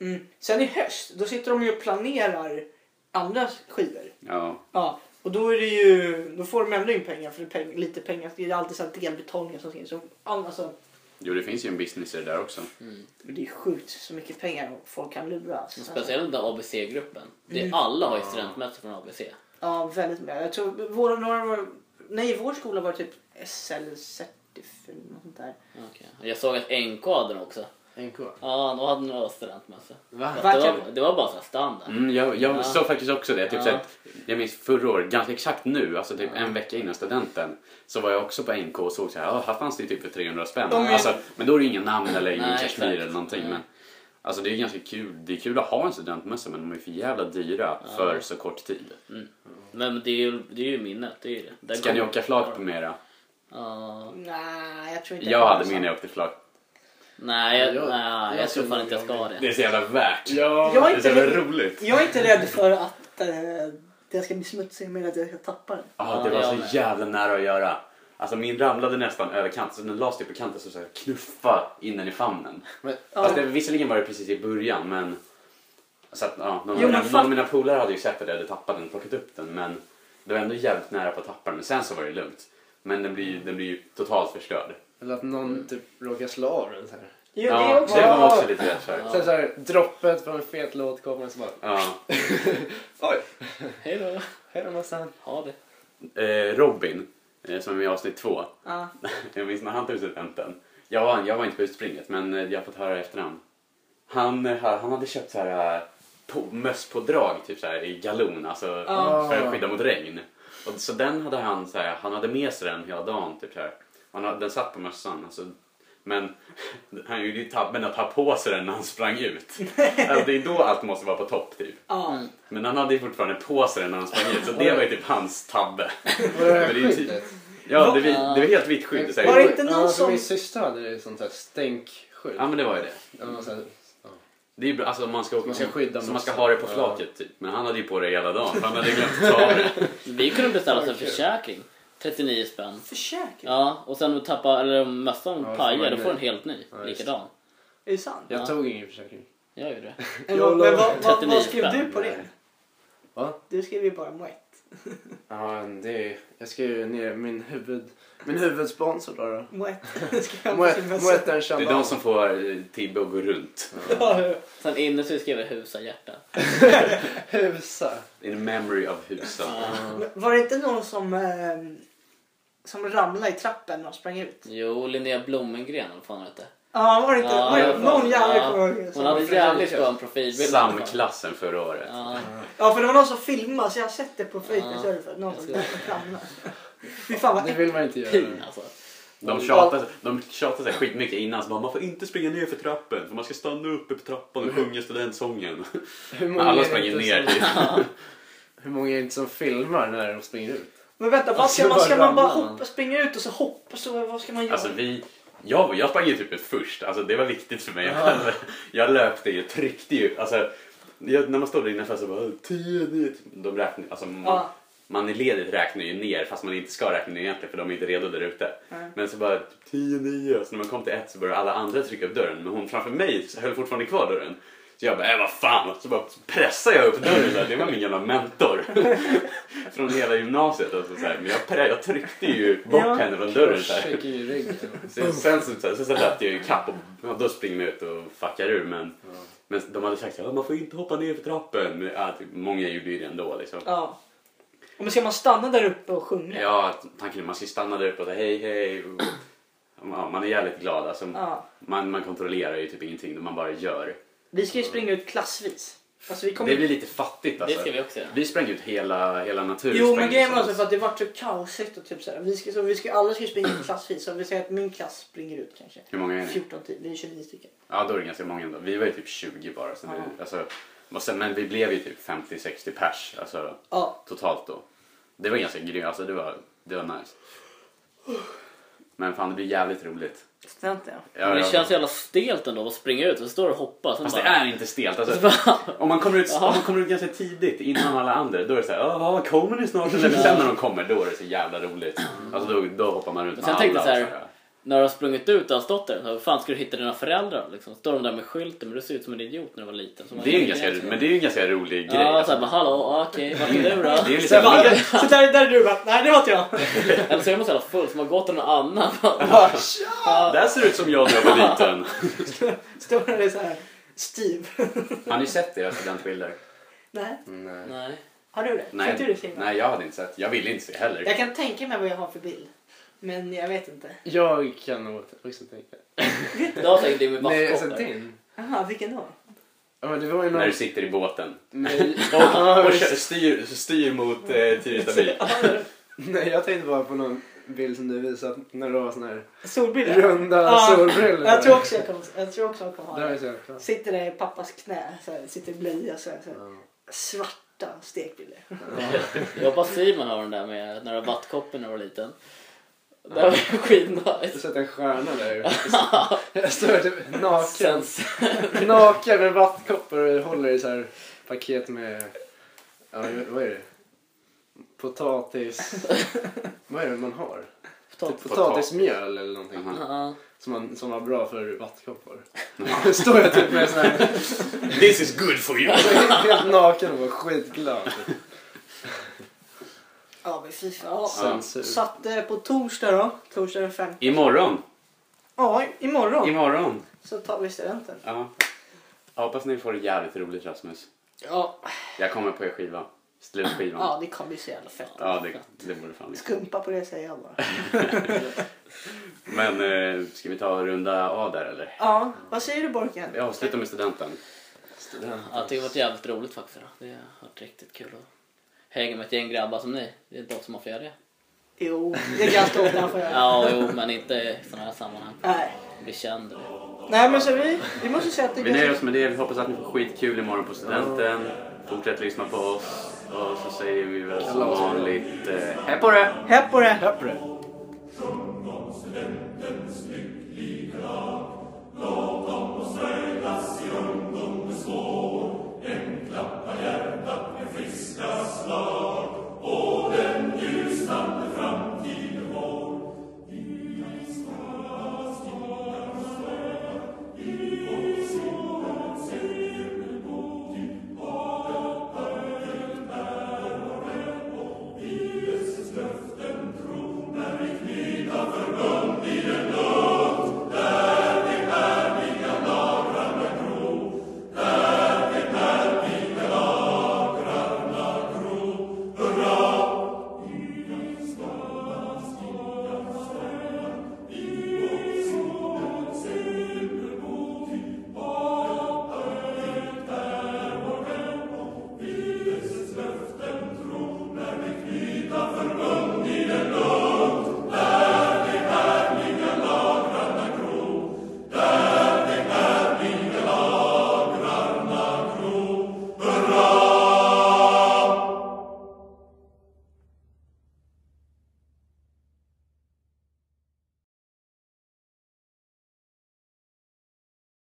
S2: Mm. Sen i höst, då sitter de ju och planerar andra skivor.
S3: Ja,
S2: Ja, och då är det ju, då får de ändå in pengar för det är peng, lite pengar. Det är alltid så här delbetalningar som finns. Så, Alltså,
S3: jo det finns ju en business i det där också.
S2: det är sjukt så mycket pengar folk kan luras.
S4: Speciellt den där ABC-gruppen. Det är alla har ju studentmöte från ABC.
S2: Ja, väldigt mycket. Jag tror våra, några, nej, vår skola var typ SL-certif eller något sånt där.
S4: Okej. Jag såg att NK hade den också.
S1: NK.
S4: Ja, de hade några studentmössa.
S1: Va?
S4: Fast Det var, det var bara så här standard.
S3: Mm, jag jag
S4: Ja.
S3: såg faktiskt också det. Typ,
S4: Ja.
S3: så att, jag minns förra året, ganska exakt nu, alltså typ en vecka innan studenten, så var jag också på NK och såg så här, "Ah, här fanns det ju typ för 300 spänn.
S2: De är-
S3: Alltså, men då är det inga namn eller ingen
S4: Mm. Nej,
S3: kashmir
S4: exakt. Mm.
S3: eller någonting.
S4: Nej.
S3: Men, alltså det är ju ganska kul. Det är kul att ha en studentmössa men de är för jävla dyra för så kort tid.
S4: Men det är, ju, det är ju minnet, det är ju det. Där
S3: Ska ni
S4: kommer-
S3: åka flak på mera?
S4: Ja.
S2: Nej, jag tror inte
S3: Jag hade min
S2: mina
S3: när jag åkte flak.
S4: nej, jag,
S1: Ja, jag-
S4: nej, jag
S1: jag
S4: tror
S1: ser
S4: fan inte jag ska
S1: många
S4: ha det.
S3: Det är så jävla värt.
S1: Ja.
S2: Jag
S3: Det
S2: är
S3: är så
S2: inte,
S3: jävla
S2: rädd-
S3: roligt.
S2: jag är inte rädd för att eh, det ska bli smutsigt men att jag ska tappa den.
S3: Ja,
S4: Ja,
S3: det var
S4: jag
S3: så
S4: med.
S3: jävla nära att göra. Alltså min ramlade nästan över kanten, så den lades typ på kanten så så här knuffa in den i famnen.
S1: Men,
S3: Fast Alltså, det, visserligen var det precis i början men... Så att, ja, någon,
S2: Jo, men
S3: av mina-
S2: fatt-
S3: någon av mina polare hade ju sett att jag hade tappat den och plockat upp den men det var ändå jävligt nära på att tappa den. Men sen så var det lugnt. Men den blir, ju- den blir ju totalt förstörd.
S1: Eller att någon typ råkar slå av den så här.
S2: Jo, det är
S3: Ja,
S2: också...
S3: det var också lite rätt kört.
S1: Sen så här, droppet från en fet låt kommer och så bara
S3: Ja.
S1: oj,
S4: Hej då.
S1: här är massan.
S4: Ha det.
S3: Eh, Robin, eh, som är med i avsnitt två.
S2: Ja.
S3: Jag minns när han tog studenten. Jag var, jag var inte på utspringet men eh, jag har fått höra i efterhand. Han, eh, han hade köpt så här eh, på, mösspådrag typ så här, i galon alltså,
S2: Ja.
S3: för att skydda mot regn. Och, så den hade han, så här, han hade med sig den hela dagen. Typ, så här. Han, hade- den satt på mössan. Alltså, men han gjorde ju tabben att ha på sig den när han sprang ut. Alltså, det är då allt måste vara på topp typ.
S2: Ja.
S3: Men han hade ju fortfarande på sig den när han sprang ut så det var ju typ hans tabbe.
S1: Var det här
S3: Men det är ju typ-
S1: skyddet?
S3: Ja, det, var- det var helt vitt skydd. så här.
S2: Var det inte någon
S1: ja, för
S2: som-
S1: Min syster hade ju sånt här stänkskydd.
S3: Ja men det var ju det.
S1: Ja, men så här- ja.
S3: Det är ju bra, alltså man ska,
S1: Man ska skydda
S3: så man ska
S1: mot-
S3: ha det på
S1: ja.
S3: flaket typ. Men han hade ju på det hela dagen för han hade glömt att ta av det.
S4: Vi kunde beställa oss en
S1: Okej.
S4: försäkring. 39 spänn.
S2: Försäkring?
S4: Ja, och sen tappa, eller om mössan
S1: Ja,
S4: pajar,
S1: får
S4: då
S1: man
S4: får en
S1: ny.
S4: helt ny.
S1: Ja, just.
S4: likadan.
S2: Är det sant?
S1: Jag
S4: Ja.
S1: tog ingen försäkring.
S4: Jag gjorde det.
S2: Men,
S1: Jag
S2: vad, men vad, vad,
S4: 39
S2: vad skrev
S4: spänn.
S2: du på det?
S1: Va?
S2: Du skrev ju bara Moet.
S1: Ja, det är, jag skrev ner min huvud... Min huvudsponsor då. då.
S2: Moet. skrev jag på sin
S1: Moet-
S2: mössa.
S1: Moet en
S3: Det
S1: Chandal.
S3: är de som får eh, Tibbe att gå runt.
S4: Sen inuti skrev jag husa hjärta.
S1: Husa.
S3: In memory of Husa.
S2: Men Var det inte någon som, ehm, som ramlade i trappen och sprang ut?
S4: Jo, Linnea Blommengren, vad fan hon hette.
S2: Ja, var det inte?
S4: Ja,
S2: var
S4: i
S2: det,
S4: alla fall.
S2: någon jävel
S4: Ja.
S2: kommer ihåg.
S4: Hon
S2: som-
S4: hade jävligt skön profilbild.
S3: Samklassen förra året.
S4: Ja.
S2: Ja, för det var någon som filmade så jag har sett det på Facebook. så är det för Någon som ramlade. Fy fan vad
S1: Det
S2: äckligt.
S1: vill man inte göra.
S4: Pin alltså.
S3: De tjatade, de tjatade så här skitmycket innan. Så bara, man får inte springa ner för trappen för man ska stanna uppe på trappan och sjunga studentsången.
S1: Hur
S3: Men
S1: många
S3: Alla
S1: är
S3: sprang
S1: det
S3: ju
S1: inte
S3: ner typ.
S1: Som,
S3: dit.
S1: hur många är det inte som filmar när de springer ut?
S2: Men vänta, vad ska
S1: Alltså,
S2: man, ska
S1: bara
S2: man bara
S1: ramla.
S2: hoppa, springa ut och så hoppa? Så vad ska man göra?
S3: Alltså vi, jag, jag sprang ju typ ut först, alltså det var viktigt för mig. Jag löpte ju, tryckte ju. Alltså, jag, när man står där innanför så bara 10, 9, de räknar, alltså, man,
S2: Ja.
S3: man i ledet räknar ju ner fast man inte ska räkna ner egentligen för de är inte redo där ute.
S2: Nej.
S3: Men så bara 10, 9 så när man kom till ett så började alla andra trycka upp dörren men hon framför mig höll fortfarande kvar dörren. Så jag bara, äh, vad fan, så bara pressade jag upp dörren. Så här, Det var min gamla mentor från hela gymnasiet. Alltså, så här. Men jag, pre- jag tryckte ju bort
S2: Ja.
S3: henne från dörren. Så här.
S1: Shake i ryggen.
S3: Sen, sen, så- sen, sen så löpte jag ju kapp och ja, då springer jag ut och fuckar ur. Men, men de hade sagt att man får inte hoppa ner för trappen. Men, ja, typ, många gjorde ju det ändå. Liksom.
S2: Ja. Och Men ska man stanna där uppe och sjunga?
S3: Ja, tanken är att man ska stanna där uppe och säga hej hej. Och, ja, man är jävligt glad. Alltså,
S2: Ja.
S3: man, man kontrollerar ju typ ingenting. Man bara gör.
S2: Vi ska ju springa ut klassvis. Alltså vi kom
S3: Det blir lite fattigt alltså.
S4: Det ska vi också göra.
S3: Vi sprang ut hela, hela naturen.
S2: Jo
S3: sprang
S2: men
S3: ut
S2: grejen var alltså
S3: tillsammans.
S2: för att det vart så kaosigt och typ såhär. Vi ska, så vi ska, alla ska springa ut klassvis. Så vi säger att min klass springer ut kanske.
S3: Hur många är ni?
S2: 14 till, vi är 29 stycken.
S3: Ja, då är det ganska många ändå. Vi var ju typ 20 bara. Så
S2: Ja.
S3: vi, alltså, och sen, men vi blev ju typ 50-60 pers alltså,
S2: Ja.
S3: totalt då. Det var ganska grymt. Alltså, det, var, det var nice. Men fan, det blir jävligt roligt.
S2: Snällt ja.
S3: Ja,
S4: Men det
S3: ja.
S4: känns jävla stelt ändå att springa ut och stå och hoppa. Sen
S3: Fast det
S4: bara,
S3: är inte stelt. Alltså, om, man kommer ut, om man kommer ut ganska tidigt innan alla andra då är det så här, "Åh, kommer ni snart? Eller sen när de kommer då är det så jävla roligt. Alltså, då, då hoppar man runt
S4: Men sen tänkte jag så
S3: och
S4: här- När du har sprungit ut och har stått där, så hur fan ska du hitta dina föräldrar? Liksom, står de där med skylten, men du ser ut som en idiot när du var liten. Så man-
S3: Det är ju en ganska, men det är ju en ganska rolig grej.
S4: Ja,
S3: alltså.
S4: såhär bara hallå, okej, vart är du
S3: Det är liksom- ju
S4: då?
S3: lite
S2: Så, bara,
S3: roligt.
S2: så där, där är du bara, nej det var inte jag.
S4: Eller så är man så jävla full så man går till någon annan.
S3: Där ser det ut som jag när jag var liten.
S2: Står där och är såhär, Steve.
S3: Har ni sett deras studentbilder?
S2: nej,
S1: Nej.
S4: Nej.
S2: har du det? Fick du det
S3: Nej,
S2: Simon?
S3: nej, jag hade inte sett. Jag ville inte se heller.
S2: Jag kan tänka mig vad jag har för bild. Men jag vet inte.
S1: Jag kan nog också tänka.
S4: Det har säkert det med
S1: Nej, alltså
S4: maskottar.
S1: din?
S2: Jaha, vilken då?
S1: Ja, men det var ju någon...
S3: När du sitter i båten.
S1: Nej,
S3: Och,
S1: ja,
S3: och
S1: visst.
S3: kö- styr, styr mot eh, Tyrestaby.
S1: Nej, jag tänkte bara på någon bild som du visade när du var sån här
S2: Solbrillor?
S1: runda
S2: Ja,
S1: solbrillor.
S2: Jag tror också jag kommer, jag tror också jag kommer ha
S1: Det har
S2: det.
S1: jag sett. ja.
S2: Sitter där i pappas knä, så här, sitter i blöja så här, så här,
S1: Ja.
S2: svarta stekbilder.
S4: Jag hoppas Simon har den där med när du har vattkoppen när du var liten. Det var
S1: Jag har
S4: skitnice.
S1: sett en stjärna där. Jag står typ naken.
S4: Sen,
S1: Naken med vattkoppor och håller i så här paket med... Ja, vad är det? Potatis... vad är det man har? Typ
S4: Potatis.
S1: potatismjöl eller någonting.
S3: Aha.
S4: Ja.
S1: Som, man, som var bra för vattkoppor.
S2: Mm.
S1: Då står jag typ med sån här
S3: This is good for you!
S1: helt naken och var skitglad.
S2: Ja men fy fan.
S1: Censur.
S2: Så att eh, på torsdag då, torsdag den 5.
S3: Imorgon.
S2: Ja, i- imorgon
S3: Imorgon.
S2: så tar vi studenten.
S3: Ja. Jag hoppas ni får det jävligt roligt Rasmus.
S2: Ja,
S3: Jag kommer på er skiva. Slutskivan.
S2: ja det kommer bli så jävla fett.
S3: Ja, det, det vore fan liksom.
S2: Skumpa på det säger jag bara.
S3: Men eh, ska vi ta och runda av där eller?
S2: Ja, vad säger du Borken?
S3: Vi avslutar med studenten.
S4: Ja, jag tycker det har varit jävligt roligt faktiskt. Då. Det har varit riktigt kul att hänga med ett gäng grabbar som ni. Det är inte ofta som man får göra det.
S2: Jo, det är ganska ofta han får göra.
S4: Ja, jo, men inte i sådana här sammanhang.
S2: Nej.
S4: Bli känd.
S2: Nej men så vi, vi måste säga att det är
S3: Vi nöjer
S2: ganska...
S3: oss med det. Vi hoppas att ni får skitkul imorgon på studenten. Fortsätt lyssna på oss. Och så säger vi väl som vanligt eh, hej på det!
S2: Häpp på det!
S1: Pepper.